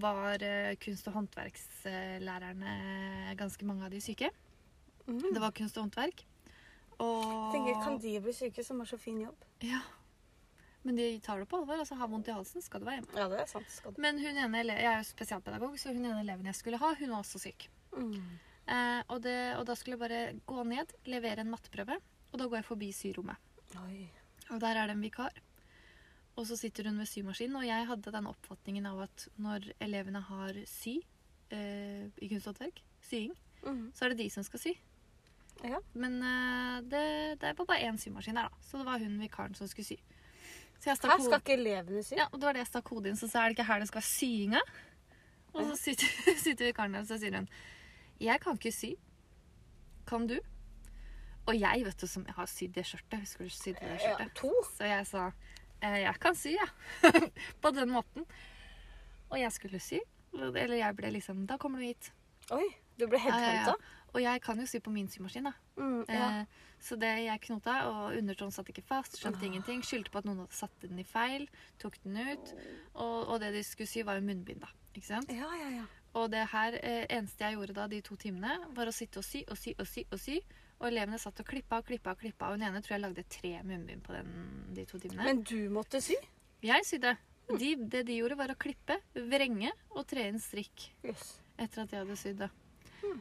S2: var eh, kunst- og håndverkslærerne ganske mange av de syke. Det var kunst og håndverk. Og...
S1: Mm. Tenker, kan de bli syke som har så fin jobb?
S2: Ja. Men de tar det på alvor. altså Har vondt i halsen, skal du være hjemme.
S1: Ja, det er sant. Skal du.
S2: Men hun ene ele- jeg er jo spesialpedagog, så hun ene eleven jeg skulle ha, hun var også syk.
S1: Mm.
S2: Eh, og, det, og da skulle jeg bare gå ned, levere en matteprøve, og da går jeg forbi syrommet.
S1: Oi.
S2: Og der er det en vikar. Og så sitter hun ved symaskinen, og jeg hadde den oppfatningen av at når elevene har sy eh, i kunsthåndverk, sying,
S1: Mm.
S2: så er det de som skal sy.
S1: Ja.
S2: Men eh, det, det er bare bare én symaskin her, da. Så det var hun vikaren som skulle sy. Så jeg stakk
S1: Her
S2: hodet-
S1: skal ikke elevene sy.
S2: ja, og det var det jeg stakk hodet inn, så sa jeg, er det ikke her det skal være syinga? Og så sitter, sitter vikaren der, og så sier hun Jeg kan ikke sy. Kan du? Og jeg, vet du, som har sydd det skjørtet Husker du sydde det
S1: Ja,
S2: skjørtet?
S1: to.
S2: Så jeg sa «Eh, Jeg kan sy, ja. På den måten. Og jeg skulle sy. Eller jeg ble liksom Da kommer du hit.
S1: Oi, du ble
S2: Ja, ja, ja.
S1: headhunta.
S2: Og jeg kan jo sy på min symaskin, da.
S1: Mm, ja.
S2: Eh, Så det jeg knota, og undertåen satt ikke fast, skjønte
S1: Ah.
S2: ingenting. Skyldte på at noen hadde satt den i feil, tok den ut. Og, og det de skulle sy, var jo munnbind, da. Ikke sant?
S1: ja, ja, ja.
S2: Og det her, eh, eneste jeg gjorde da de to timene, var å sitte og sy og sy og sy. Og sy. Og elevene satt og klippa og klippa og klippa. Og hun ene tror jeg lagde tre munnbind på den, de to timene.
S1: Men du måtte sy?
S2: Jeg sydde. De, det de gjorde, var å klippe, vrenge og tre inn strikk
S1: Yes.
S2: etter at jeg hadde sydd. da.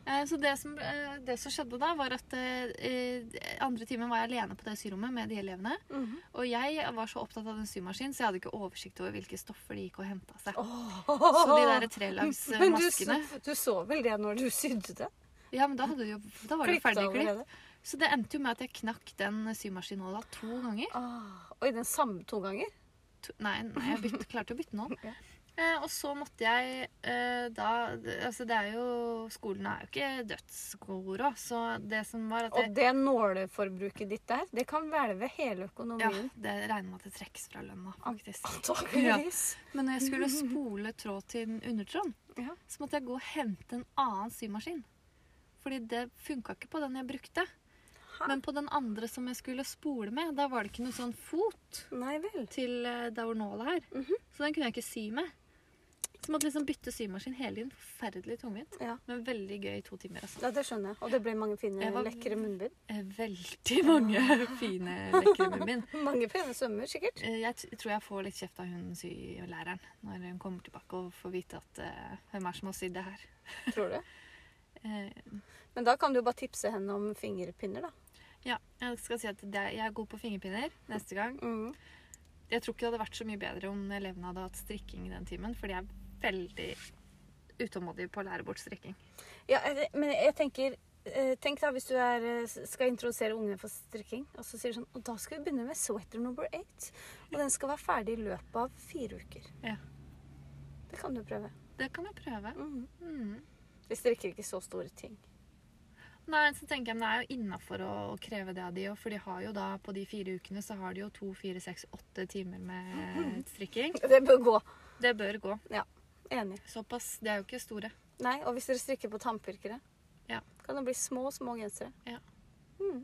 S2: Eh, Så det som, eh, det som skjedde da, var at eh, eh, andre timen var jeg alene på det syrommet med de elevene.
S1: Mhm.
S2: Og jeg var så opptatt av den symaskinen, så jeg hadde ikke oversikt over hvilke stoffer de gikk og henta seg. Så de
S1: Men
S2: der
S1: du, så-
S2: trelagsmaskene
S1: du så vel det når du sydde det?
S2: Ja, men da, hadde de jo, da var det jo
S1: Klippet
S2: ferdig klipp.
S1: allerede.
S2: Så det endte jo med at jeg knakk den symaskinhåla to ganger.
S1: Ah, oi, den samme to ganger?
S2: to, Nei, nei jeg bytte, klarte å bytte noen.
S1: Ja.
S2: Eh, og så måtte jeg eh, da Altså, det er jo Skolen er jo ikke dødsgod råd, så det som var at jeg,
S1: Og det nåleforbruket ditt der, det kan hvelve hele
S2: Ja,
S1: økonomien.
S2: det regner med at det trekkes fra lønna, faktisk.
S1: Antakeligvis.
S2: Ah. Men når jeg skulle spole tråd til undertråden,
S1: Ja.
S2: så måtte jeg gå og hente en annen symaskin. Fordi det funka ikke på den jeg brukte.
S1: Hæ?
S2: Men på den andre som jeg skulle spole med, da var det ikke noe sånn fot.
S1: Nei vel.
S2: til eh, der hvor nåla er. Så den kunne jeg ikke sy med. Så måtte jeg liksom bytte symaskin hele tiden. Forferdelig tungvint.
S1: Ja.
S2: Men veldig gøy i to timer. Altså.
S1: Ja, det skjønner jeg. Og det ble mange fine,
S2: Jeg var-
S1: lekre munnbind.
S2: Eh, Veldig mange fine lekre med min.
S1: Mange pene sømmer, sikkert.
S2: Eh, Jeg t- tror jeg får litt kjeft av hun sylæreren når hun kommer tilbake og får vite at eh, hvem er som har sydd det her.
S1: Tror du?
S2: Eh,
S1: Men da kan du jo bare tipse henne om fingerpinner, da.
S2: ja, jeg skal si at det, er- jeg er god på fingerpinner neste gang.
S1: Mm.
S2: Jeg tror ikke det hadde vært så mye bedre om elevene hadde hatt strikking i den timen, fordi jeg er veldig utålmodig på å lære bort strikking.
S1: Ja, jeg- men jeg tenker eh, Tenk da hvis du er, eh, skal introdusere ungene for strikking, og så sier du sånn Og da skal vi begynne med sweater number eight. Og den skal være ferdig i løpet av fire uker.
S2: Ja.
S1: Det kan du prøve.
S2: Det kan jeg prøve.
S1: Mm.
S2: Mm.
S1: Vi strikker ikke så store ting.
S2: Nei, så tenker jeg, men Det er jo innafor å, å kreve det av de òg, for de har jo da på de fire ukene så har de jo to, fire, seks, åtte timer med strikking.
S1: Det bør gå.
S2: Det bør gå.
S1: Enig.
S2: Såpass. De er jo ikke store.
S1: Nei, og hvis dere strikker på tannpirkere,
S2: Ja.
S1: kan det bli små, små gensere.
S2: Ja.
S1: Mm.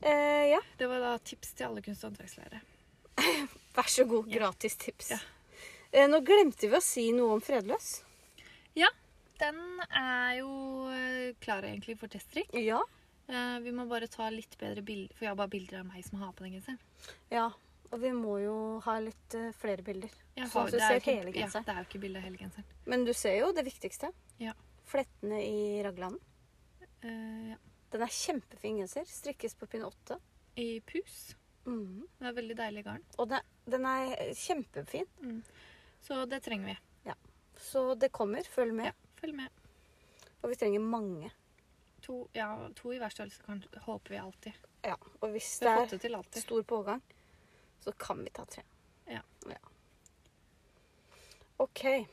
S1: Eh, ja,
S2: Det var da tips til alle kunst- og håndverkslærere.
S1: vær så god. Gratis tips.
S2: Ja.
S1: Eh, nå glemte vi å si noe om Fredløs.
S2: Den er jo eh, klar egentlig for teststrikk.
S1: Ja.
S2: Eh, Vi må bare ta litt bedre bilder, for jeg har bare bilder av meg som har på den genseren.
S1: ja. Og vi må jo ha litt eh, flere bilder.
S2: Jeg
S1: Sånn
S2: har-
S1: at du
S2: det er jo
S1: ser
S2: ikke-
S1: hele
S2: Ja,
S1: genseren.
S2: det er jo ikke bilde av hele genseren.
S1: Men du ser jo det viktigste.
S2: Ja.
S1: Flettene i raglanden.
S2: Eh, ja.
S1: Den er kjempefin genser. Strikkes på pinn åtte.
S2: I pus.
S1: Mhm.
S2: Det er veldig deilig garn.
S1: Og den, den er kjempefin.
S2: Så det trenger vi.
S1: Så det kommer. Følg med.
S2: Ja, følg med.
S1: Og vi trenger mange.
S2: To, ja, to i hver størrelse kan, håper vi alltid.
S1: Ja. Og hvis
S2: Vi
S1: det
S2: har fått
S1: er
S2: det til alltid.
S1: stor pågang, så kan vi ta tre.
S2: Ja.
S1: OK.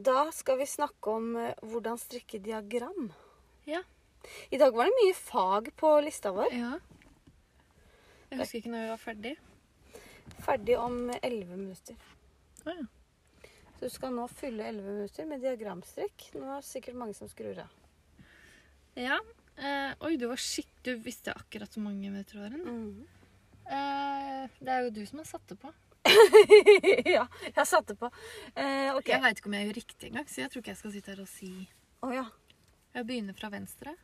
S1: Da skal vi snakke om eh, hvordan strikke diagram.
S2: Ja.
S1: I dag var det mye fag på lista vår.
S2: ja. Jeg husker ikke når vi var ferdig.
S1: Ferdig om eh, 11 minutter.
S2: Å ja.
S1: Så du skal nå fylle 11 minutter med diagramstrikk. Nå er det sikkert mange som skrur av.
S2: Eh, oi, du var skikk... Du visste akkurat så mange minutter det var igjen. Eh, det er jo du som har satt det på.
S1: ja, jeg satte på. Eh, ok.
S2: Jeg veit ikke om jeg gjør riktig engang, så jeg tror ikke jeg skal sitte her og si
S1: Å ja.
S2: Jeg begynner fra venstre.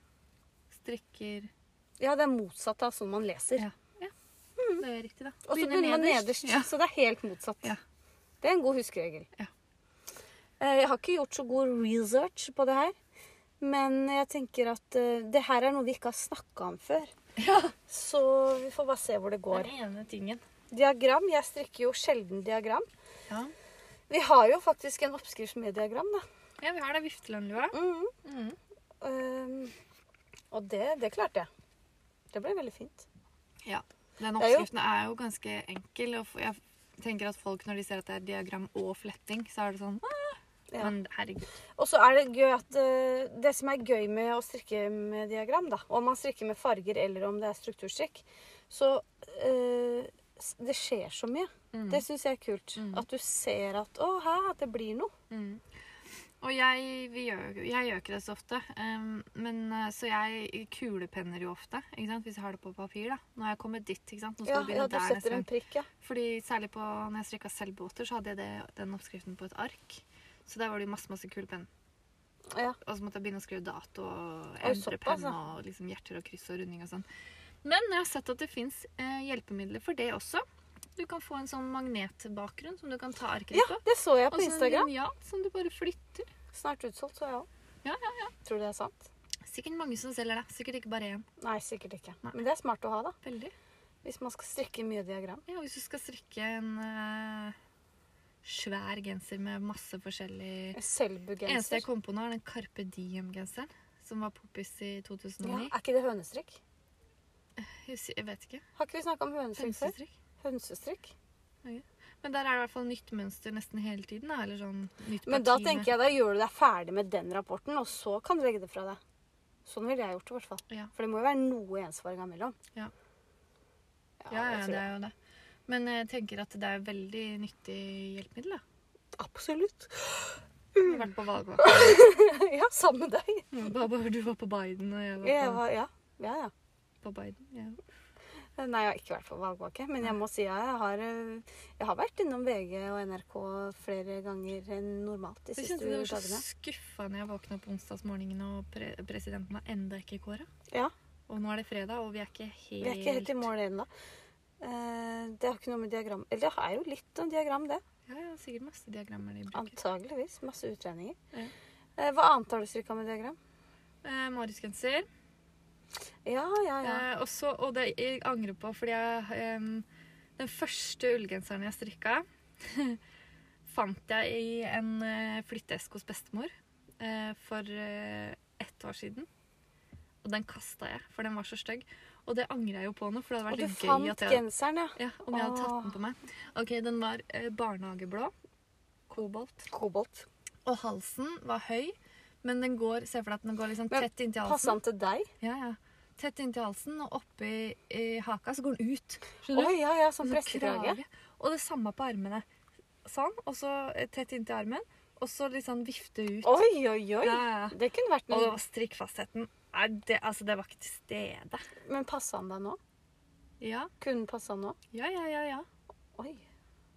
S2: strikker
S1: Ja, det er motsatt av sånn man leser.
S2: Ja. Det er riktig, da.
S1: Mm. Og så
S2: Begynner
S1: begynner man nederst,
S2: Ja.
S1: så det er helt motsatt.
S2: Ja.
S1: Det er en god huskeregel.
S2: Ja.
S1: Eh, Jeg har ikke gjort så god research på det her, men jeg tenker at eh, det her er noe vi ikke har snakka om før.
S2: Ja,
S1: Så vi får bare se hvor det går.
S2: Den ene tingen.
S1: Diagram. Jeg strikker jo sjelden diagram.
S2: Ja,
S1: Vi har jo faktisk en oppskrift med diagram, da.
S2: ja vi har det viftelønnlua.
S1: Mhm.
S2: Mm.
S1: Ehm, og det, det klarte jeg. Det ble veldig fint.
S2: Mm. Ja. Den
S1: Det er jo-
S2: oppskriften er jo ganske enkel. Og f- jeg tenker at folk, når de ser at det er diagram og fletting, så er det sånn ah!
S1: Ja.
S2: Men herregud.
S1: Og så er det gøy at eh, det som er gøy med å strikke med diagram, da, om man strikker med farger eller om det er strukturstrikk, så eh, s- det skjer så mye.
S2: Mm.
S1: Det syns jeg er kult.
S2: Mm.
S1: At du ser at å, hæ, det blir noe.
S2: Mm. Og jeg, vi gjør, jeg gjør ikke det så ofte. em, men, eh, så jeg kulepenner jo ofte ikke sant? hvis jeg har det på papir. da. Nå har jeg kommet dit. ikke sant? Nå skal
S1: Ja,
S2: jeg begynne
S1: ja, du
S2: der neste
S1: setter
S2: gang.
S1: en prikk, ja.
S2: Fordi særlig på, når jeg strikka selvbåter, så hadde jeg det, den oppskriften på et ark. Så der var det jo masse masse kulepenn.
S1: ja.
S2: Og så Altså, måtte jeg begynne å skrive dato og
S1: Oi,
S2: endre
S1: såpass,
S2: penn
S1: ja.
S2: og liksom hjerter og kryss og runding og sånn. Men jeg har sett at det fins eh, hjelpemidler for det også. Du kan få en sånn magnetbakgrunn som du kan ta arket ditt
S1: Ja,
S2: på.
S1: det så jeg
S2: Og
S1: på
S2: så en
S1: Instagram.
S2: linjal som du bare flytter.
S1: Snart utsolgt, så jeg òg.
S2: Ja,
S1: Tror du det er sant?
S2: Sikkert mange som selger det. Sikkert ikke bare én.
S1: Nei, sikkert ikke.
S2: Nei.
S1: Men det er smart å ha, da.
S2: Veldig.
S1: Hvis man skal strikke mye diagram.
S2: Ja, hvis du skal strikke en eh, svær genser med masse forskjellig Eneste jeg
S1: Selbugenser.
S2: kom på nå, er den Carpe Diem-genseren. Som var poppis i
S1: Ja,
S2: 2009.
S1: er ikke det hønestrikk?
S2: Jeg husker- Jeg vet ikke.
S1: Har ikke vi snakka om hønestrikk før?
S2: Hønsestrikk.
S1: Hønsestrikk?
S2: Men der er det i hvert fall nytt mønster nesten hele tiden. Da, eller sånn nytt
S1: Men da tenker jeg da gjør du deg ferdig med den rapporten, og så kan du legge det fra deg. Sånn ville jeg gjort det, i hvert fall.
S2: Ja.
S1: For det må jo være noe ensfarga mellom.
S2: Ja.
S1: Ja,
S2: Ja, ja,
S1: jeg Altså- tror
S2: det
S1: det.
S2: er jo det. Men jeg tenker at det er veldig nyttig hjelpemiddel. da.
S1: Absolutt.
S2: Vi
S1: Mm.
S2: har vært på valgvakt.
S1: ja, sammen med deg.
S2: Baba, du var på Biden, og jeg
S1: Jeg
S2: var på,
S1: var, ja. ja, ja.
S2: på Biden. Ja.
S1: Nei, jeg har ikke vært på valgvake, men jeg må si at jeg har, eh, jeg har vært innom VG og NRK flere ganger enn normalt de
S2: Jeg
S1: siste
S2: kjente det var så
S1: dagene.
S2: skuffa når jeg våkna opp onsdagsmorgenen og pre presidenten var enda ikke kåra.
S1: Ja,
S2: Og nå er det fredag, og vi er ikke helt
S1: Vi er ikke helt i mål ennå. Eh, Det har ikke noe med diagram Eller det er jo litt om diagram, det.
S2: Ja, ja, sikkert masse diagrammer de bruker.
S1: Antageligvis. Masse utregninger.
S2: Ja.
S1: Eh, Hva annet har du strikka med diagram?
S2: Eh, Mariusgenser.
S1: Ja, ja, ja.
S2: Eh, også, og det jeg angrer på, fordi jeg, em, den første ullgenseren jeg strikka, fant jeg i en eh, flytteeske hos bestemor eh, for eh, ett år siden. Og den kasta jeg, for den var så stygg. Og det angrer jeg jo på nå, for det
S1: Og
S2: hadde
S1: du
S2: vært litt gøy
S1: fant
S2: at jeg,
S1: genseren, ja.
S2: ja, om jeg hadde tatt
S1: Åh.
S2: den på meg. Ok, Den var eh, barnehageblå. Kobolt.
S1: Kobolt.
S2: Og halsen var høy, men den går, se for deg at den går liksom
S1: Men
S2: tett inntil halsen.
S1: Passa han til deg?
S2: Ja, ja. Tett inntil halsen, og oppi i haka så går den ut.
S1: Oi,
S2: Skjønner du?
S1: ja, ja, som
S2: Sånn
S1: prestekrage.
S2: krage. Og det samme på armene. Sånn, og så eh, tett inntil armen, og så litt sånn vifte ut.
S1: Oi, oi, oi.
S2: Ja, ja, ja.
S1: Det kunne vært
S2: Og
S1: noe.
S2: strikkfastheten Nei, det, altså, det var ikke til stede.
S1: Men passa han deg nå?
S2: Ja,
S1: Kunne passa han nå?
S2: ja, ja, ja. ja.
S1: Oi.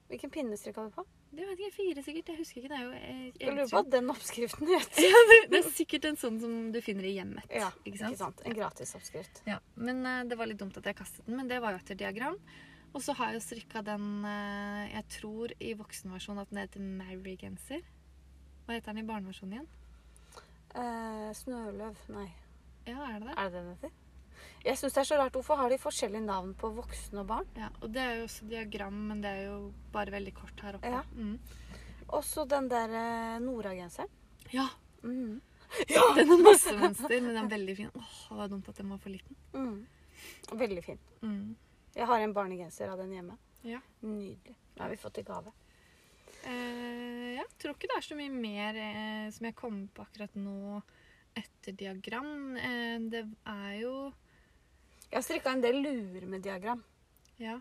S1: Hvilken pinne strikka du på?
S2: Det vet ikke, fire sikkert. Jeg husker ikke. Det er jo eh,
S1: Jeg lurer på
S2: eventyrlig.
S1: den oppskriften vet du.
S2: ja, det, det er sikkert en sånn som du finner i hjemmet.
S1: Ja,
S2: ikke
S1: Ikke
S2: sant?
S1: sant? En gratisoppskrift.
S2: Ja, men eh, det var litt dumt at jeg kastet den, men det var jo etter diagram. Og så har jeg jo strikka den eh, jeg tror i voksenversjonen at den heter Mary-genser. Hva heter den i barneversjonen igjen?
S1: Eh, snøløv. Nei,
S2: Ja, er det det?
S1: er det den heter? Jeg syns det er så rart. Hvorfor har de forskjellige navn på voksne og barn?
S2: Ja, og det er jo også diagram, men det er jo bare veldig kort her oppe.
S1: Ja.
S2: Mm.
S1: Også den der eh, Nora-genseren.
S2: ja
S1: Mhm.
S2: Mm. den har masse mønster, men den er veldig fin. Åh, det var dumt at den var for liten.
S1: Mhm. Veldig fin.
S2: Mm.
S1: Jeg har en barnegenser av den hjemme.
S2: Ja.
S1: Nydelig. Den har vi fått i gave.
S2: Eh, jeg tror ikke det er så mye mer eh, som jeg kommer på akkurat nå etter diagram. Eh, det er jo
S1: Jeg har strikka en del luer med diagram.
S2: Ja.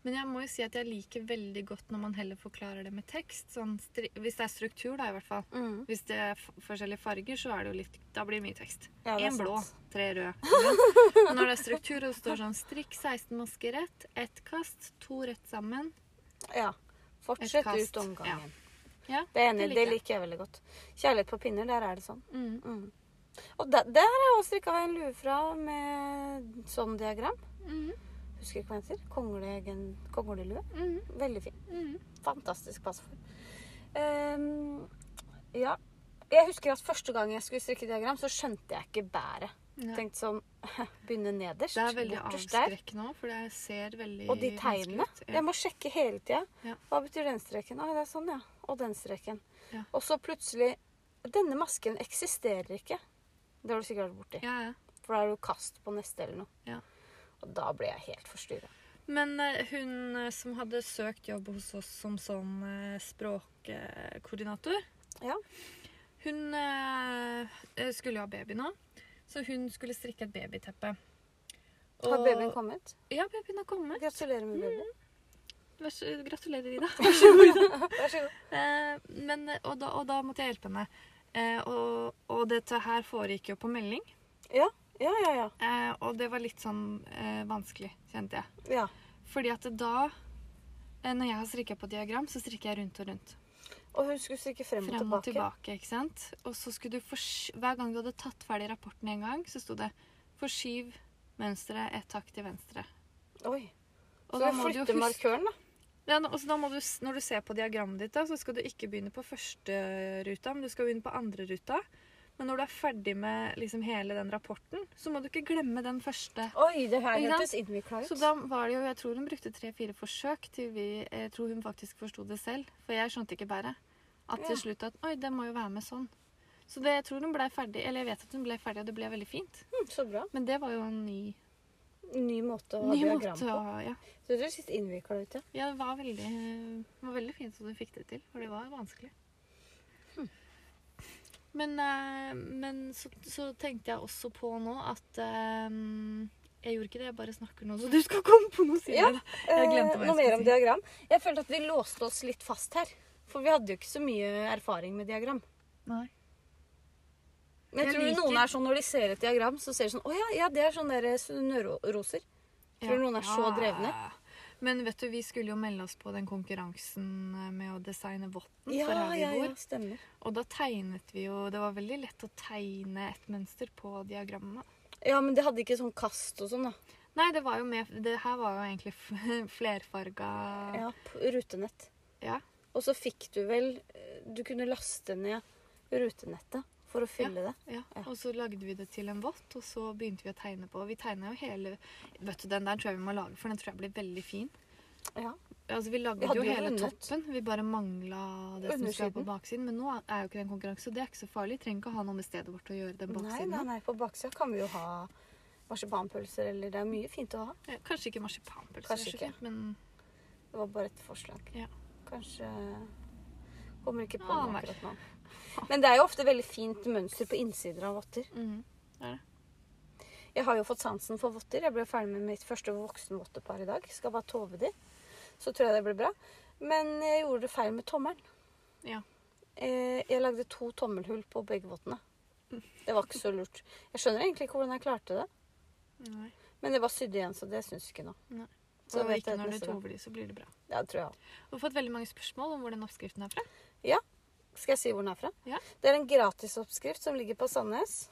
S2: Men jeg må jo si at jeg liker veldig godt når man heller forklarer det med tekst. Sånn, stri- hvis det er struktur, da, i hvert fall.
S1: Mm.
S2: Hvis det er f forskjellige farger, så er det jo litt, da blir det mye tekst.
S1: Ja, det er
S2: Én blå,
S1: sant.
S2: tre røde. Men når det er struktur, og det står sånn strikk 16 masker rett, ett kast, to rett sammen.
S1: Ja. Fortsett
S2: Et kast.
S1: ut omgangen.
S2: Ja. Ja,
S1: det, er enig,
S2: det
S1: det,
S2: liker
S1: liker jeg veldig godt. Kjærlighet på pinner, der er det sånn.
S2: Mm.
S1: Mm. Og der, der har jeg også strikka en lue fra med sånn diagram.
S2: Mhm,
S1: Husker ikke hva den heter. Konglegen- Konglelue.
S2: mhm,
S1: Veldig fin.
S2: mhm.
S1: Fantastisk passform. Ehm, ja. Jeg husker at første gang jeg skulle strikke diagram, så skjønte jeg ikke bæret.
S2: Ja.
S1: Tenkte sånn Begynne nederst,
S2: Det er veldig
S1: borterst der.
S2: avskrekkende òg, for det ser veldig
S1: Og de tegnene.
S2: vanskelig ut.
S1: Jeg må sjekke hele tida.
S2: Ja.
S1: Hva betyr den streken? Å, det er sånn, ja. Og den streken.
S2: Ja.
S1: Og så plutselig Denne masken eksisterer ikke. Det har du sikkert vært borti.
S2: Ja, ja.
S1: For da er du kast på neste eller noe.
S2: Ja.
S1: Og da ble jeg helt forstyrra.
S2: Men eh, hun eh, som hadde søkt jobb hos oss som sånn språkkoordinator
S1: Ja.
S2: Hun eh, eh, skulle jo ha baby nå, så hun skulle strikke et babyteppe.
S1: Har
S2: Og- Mm.
S1: babyen kommet?
S2: Ja, babyen har kommet.
S1: Gratulerer med babyen.
S2: Vær så, gratulerer, Ida.
S1: Vær så god.
S2: Eh, men, eh, og, da, og da måtte jeg hjelpe henne. Eh, og, og dette her foregikk jo på melding,
S1: Ja, ja, ja. ja.
S2: eh, og det var litt sånn eh, vanskelig, kjente jeg.
S1: ja.
S2: Fordi at da, eh, når jeg har strikka på diagram, så strikker jeg rundt og rundt.
S1: Og hun skulle strikke frem og
S2: Frem og
S1: tilbake.
S2: tilbake, ikke sant? Og så skulle du forsky... Hver gang du hadde tatt ferdig rapporten en gang, så sto det 'forskyv mønsteret ett hakk til venstre'.
S1: Oi. Så
S2: Og da
S1: vi
S2: må du jo
S1: flytter
S2: huske-
S1: markøren, da.
S2: Ja, nå- og så da må du, s- når du ser på diagrammet ditt, da, så skal du ikke begynne på første ruta, men du skal begynne på andre ruta. Men når du er ferdig med liksom, hele den rapporten, så må du ikke glemme den første.
S1: Oi, det her
S2: Ikke sant?
S1: hørtes innvikla ut.
S2: Så da var det jo, jeg tror hun brukte tre-fire forsøk til vi Jeg tror hun faktisk forsto det selv, for jeg skjønte ikke bæret. At
S1: Ja.
S2: til slutt at Oi, det må jo være med sånn. Så det, jeg tror hun ble ferdig, eller jeg vet at hun ble ferdig, og det ble veldig fint.
S1: Hm, så bra.
S2: Men det var jo en ny,
S1: Ny måte å ha
S2: ny
S1: diagram
S2: måte å
S1: på.
S2: ja.
S1: Så det høres litt innvikla ut, ja.
S2: ja, det var veldig, det var veldig fint at hun fikk det til, for det var vanskelig.
S1: Hm.
S2: Men, eh, men så, så tenkte jeg også på nå at eh, Jeg gjorde ikke det, jeg bare snakker nå, så du skal komme på noe
S1: Ja.
S2: siden. Jeg glemte hva
S1: Eh,
S2: jeg
S1: Noe
S2: skulle
S1: mer om
S2: si.
S1: diagram. Jeg følte at vi låste oss litt fast her. For vi hadde jo ikke så mye erfaring med diagram.
S2: Nei.
S1: Men jeg,
S2: Jeg
S1: tror
S2: liker-
S1: noen er sånn når de ser et diagram, så ser de sånn Å ja, ja det er sånn der snørroser. Tror du noen er
S2: Ah.
S1: så drevne?
S2: Men vet du, vi skulle jo melde oss på den konkurransen eh, med å designe votten
S1: Ja,
S2: for her vi
S1: ja, ja,
S2: bor.
S1: stemmer.
S2: Og da tegnet vi jo Det var veldig lett å tegne et mønster på diagrammet.
S1: Ja, men det hadde ikke sånn kast og sånn, da.
S2: Nei, det var jo med Det her var jo egentlig f- flerfarga ja.
S1: Ja, p- rutenett. Og så fikk du vel eh, Du kunne laste ned rutenettet for å fylle det.
S2: Ja,
S1: Ja.
S2: og så lagde vi det til en vått, og så begynte vi å tegne på. Vi tegna jo hele Vet du, den der tror jeg vi må lage, for den tror jeg blir veldig fin.
S1: Ja.
S2: Altså, vi lagde
S1: Vi hadde
S2: jo
S1: jo
S2: hele
S1: vunnet.
S2: toppen, vi bare mangla det som skal
S1: Undersiden.
S2: på baksiden. Men nå er jo ikke det en konkurranse, så det er ikke så farlig. Vi trenger ikke å ha noe med stedet vårt å gjøre den
S1: Nei,
S2: baksiden.
S1: nei,
S2: av.
S1: nei. På baksida kan vi jo ha marsipanpølser, eller Det er mye fint å ha.
S2: Eh, Kanskje ikke marsipanpølse,
S1: Kanskje
S2: er så
S1: ikke.
S2: fint, men
S1: Det var bare et forslag.
S2: Ja.
S1: Kanskje eh, Kommer ikke på
S2: Ah,
S1: noe
S2: nei.
S1: akkurat nå. Men det er jo ofte veldig fint mønster på innsider av votter.
S2: mm, det er det.
S1: Jeg har jo fått sansen for votter. Jeg ble ferdig med mitt første voksenvottepar i dag. Skal bare tove de. Så tror jeg det blir bra. Men jeg gjorde det feil med tommelen.
S2: Ja.
S1: Eh, Jeg lagde to tommelhull på begge vottene. Det var ikke så lurt. Jeg skjønner egentlig ikke hvordan jeg klarte det.
S2: Nei.
S1: Men det var sydd igjen, så det syns ikke nå.
S2: Nei.
S1: Så
S2: Så
S1: da vet
S2: ikke
S1: jeg
S2: når du
S1: neste gang.
S2: tover de, så blir det bra.
S1: Ja, det tror jeg.
S2: Vi har fått veldig mange spørsmål om hvor den oppskriften er fra.
S1: Skal jeg si hvor den er fra?
S2: Ja.
S1: Det er en gratisoppskrift som ligger på Sandnes.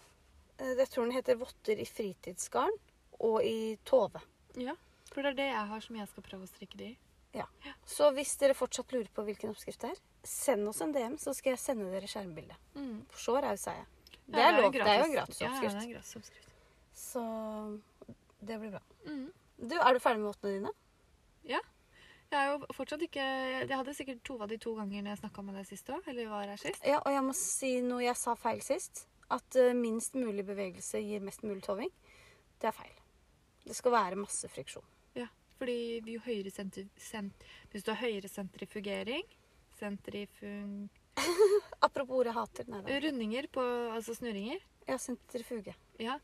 S1: Eh, Jeg tror den heter 'Votter i fritidsgarn' og i tove.
S2: Ja, for det er det jeg har som jeg skal prøve å strikke de i.
S1: Så hvis dere fortsatt lurer på hvilken oppskrift det er, send oss en DM, så skal jeg sende dere skjermbildet.
S2: Mm.
S1: For så raus er jeg.
S2: Ja,
S1: Det er,
S2: jo
S1: lov. Det er jo en
S2: gratis- Ja, Ja, det er
S1: gratisoppskrift.
S2: en gratis oppskrift.
S1: Så det blir bra.
S2: Mm.
S1: Du, er du ferdig med vottene dine?
S2: Jeg er jo fortsatt ikke Jeg hadde sikkert tova de to ganger når jeg snakka med deg sist òg, eller var her sist.
S1: Ja, og jeg må si noe jeg sa feil sist. At eh, minst mulig bevegelse gir mest mulig toving. Det er feil. Det skal være masse friksjon.
S2: Ja, fordi jo høyere sentri, sent, hvis du har høyere sentrifugering sentrifug,
S1: Apropos ordet jeg hater. Nei da.
S2: Rundinger på altså snurringer.
S1: Ja, sentrifuge.
S2: Ja.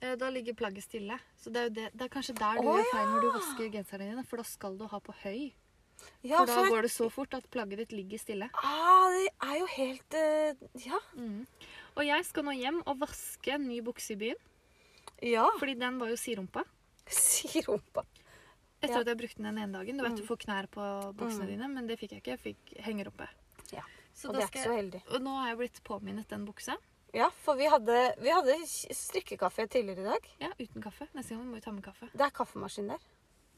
S2: eh, Da ligger plagget stille. Så det er, jo det, det er kanskje der du
S1: Å,
S2: gjør feil når du vasker genserne dine, for da skal du ha på høy.
S1: Ja,
S2: For da
S1: sånn er-
S2: går det så fort at plagget ditt ligger stille.
S1: Ah, det er jo helt eh, Ja.
S2: Mm. Og jeg skal nå hjem og vaske en ny bukse i byen,
S1: Ja,
S2: fordi den var jo sidrumpa.
S1: sier rumpa.
S2: Etter
S1: Ja.
S2: at jeg brukte den den ene dagen. Du vet du får knær på buksene
S1: Mm.
S2: dine, men det fikk jeg ikke. Jeg fikk henger oppe.
S1: Ja,
S2: Så
S1: og
S2: da
S1: det er ikke
S2: skal
S1: så
S2: jeg,
S1: heldig.
S2: og nå har jeg blitt påminnet den buksa.
S1: Ja, for vi hadde, vi hadde strikkekaffe tidligere i dag.
S2: Ja, uten kaffe. Neste gang må vi ta med kaffe.
S1: Det er kaffemaskin der.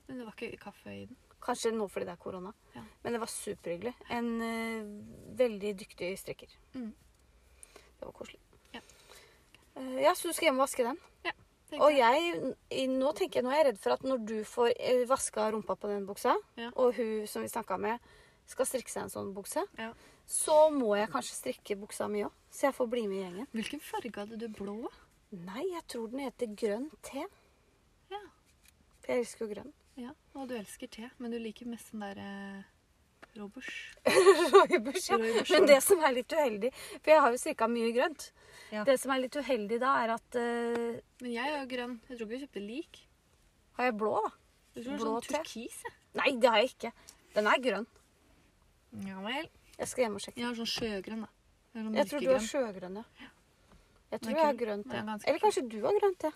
S2: Men det var ikke kaffe i den.
S1: Kanskje nå fordi det er korona.
S2: Ja.
S1: Men det var superhyggelig. En eh, veldig dyktig strikker.
S2: Mm.
S1: Det var koselig.
S2: Ja.
S1: Eh, ja, så du skal hjem og vaske den.
S2: Tenker
S1: Og jeg, i, nå tenker jeg, nå er jeg redd for at når du får eh, vaska rumpa på den buksa,
S2: Ja.
S1: og hun som vi snakka med, skal strikke seg en sånn bukse,
S2: Ja.
S1: så må jeg kanskje strikke buksa mi òg. Så jeg får bli med i gjengen.
S2: Hvilken farge hadde du? Blå?
S1: Nei, jeg tror den heter grønn te.
S2: Ja.
S1: Jeg elsker jo grønn.
S2: ja. Og du elsker te, men du liker mest den der eh, Robbers.
S1: Roybush, ja.
S2: Roybush,
S1: Men
S2: ja.
S1: det som er litt uheldig For jeg har jo strikka mye grønt.
S2: Ja.
S1: Det som er litt uheldig da, er at eh,
S2: Men jeg er jo grønn. Jeg tror ikke vi kjøpte lik.
S1: Har jeg blå, da?
S2: Jeg tror det
S1: Blå
S2: var
S1: te?
S2: sånn turkis, jeg.
S1: Nei, det har jeg ikke. Den er grønn.
S2: Ja vel.
S1: Jeg skal hjem og sjekke.
S2: Jeg har sånn sjøgrønn, da. Jeg har sånn
S1: Jeg tror du har
S2: mørkegrønn.
S1: sjøgrønn, ja. Jeg
S2: Den
S1: tror
S2: er
S1: jeg har
S2: kul.
S1: grønt
S2: Den er
S1: te.
S2: ganske
S1: Eller kanskje du har grønt te.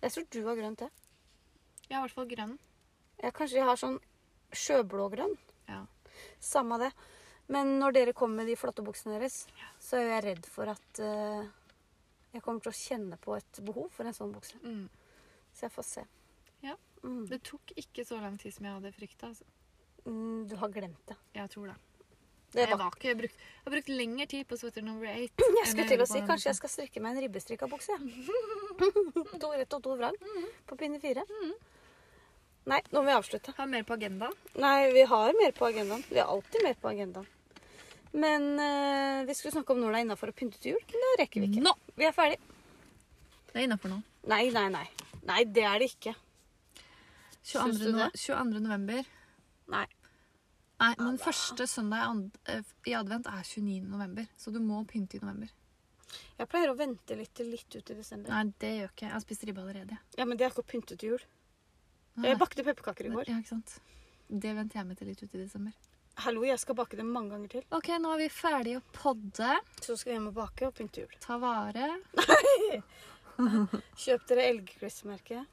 S1: Jeg tror du har grønt te.
S2: Jeg har i hvert fall grønn.
S1: Jeg kanskje jeg har sånn sjøblågrønn.
S2: Ja.
S1: Samme det. Men når dere kommer med de flotte buksene deres, så er jeg redd for at eh, jeg kommer til å kjenne på et behov for en sånn bukse.
S2: Mm.
S1: Så jeg får se.
S2: Ja.
S1: Mm.
S2: Det tok ikke så lang tid som jeg hadde frykta. Altså.
S1: Mm, du har glemt det.
S2: Jeg tror det.
S1: det
S2: jeg,
S1: var,
S2: var ikke, jeg, brukt, jeg har brukt lengre tid på sweater number eight.
S1: jeg
S2: enn
S1: skulle til
S2: gjorde
S1: å si
S2: på den
S1: kanskje jeg
S2: buksa.
S1: skal strikke meg en ribbestrikka bukse. jeg. to rett og to vrang på pinne fire.
S2: Mm.
S1: Nei, nå må vi avslutte.
S2: Har mer på agendaen.
S1: Nei, vi har mer på agendaen. Vi har alltid mer på agendaen. Men eh, vi skulle snakke om når det er innafor å pynte til jul. Men det rekker vi ikke.
S2: Nå!
S1: Vi er ferdig.
S2: Det er innafor nå.
S1: Nei, nei, nei. Nei, det er det ikke.
S2: 22.
S1: Syns du
S2: no-
S1: det?
S2: 22. november.
S1: Nei.
S2: Nei, men første søndag i and- eh, i advent er 29. november, så du må pynte i november.
S1: Jeg pleier å vente litt til litt ut i desember.
S2: Nei, det gjør ikke jeg. Jeg har spist ribbe allerede.
S1: Ja, Men det er ikke å pynte til jul.
S2: Nei,
S1: Jeg bakte pepperkaker i
S2: nei.
S1: går.
S2: Ja, ikke sant? Det venter jeg med til litt ut i desember.
S1: Hallo, jeg skal bake dem mange ganger til.
S2: Ok, nå er vi ferdige å podde.
S1: Så skal vi hjem og bake og pynte til jul.
S2: Ta vare.
S1: Kjøp dere elgklistremerke.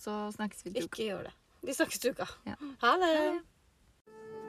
S2: Så snakkes vi til uka.
S1: Ikke gjør det. Vi snakkes til uka.
S2: Ja.
S1: Ha det.
S2: Ha det.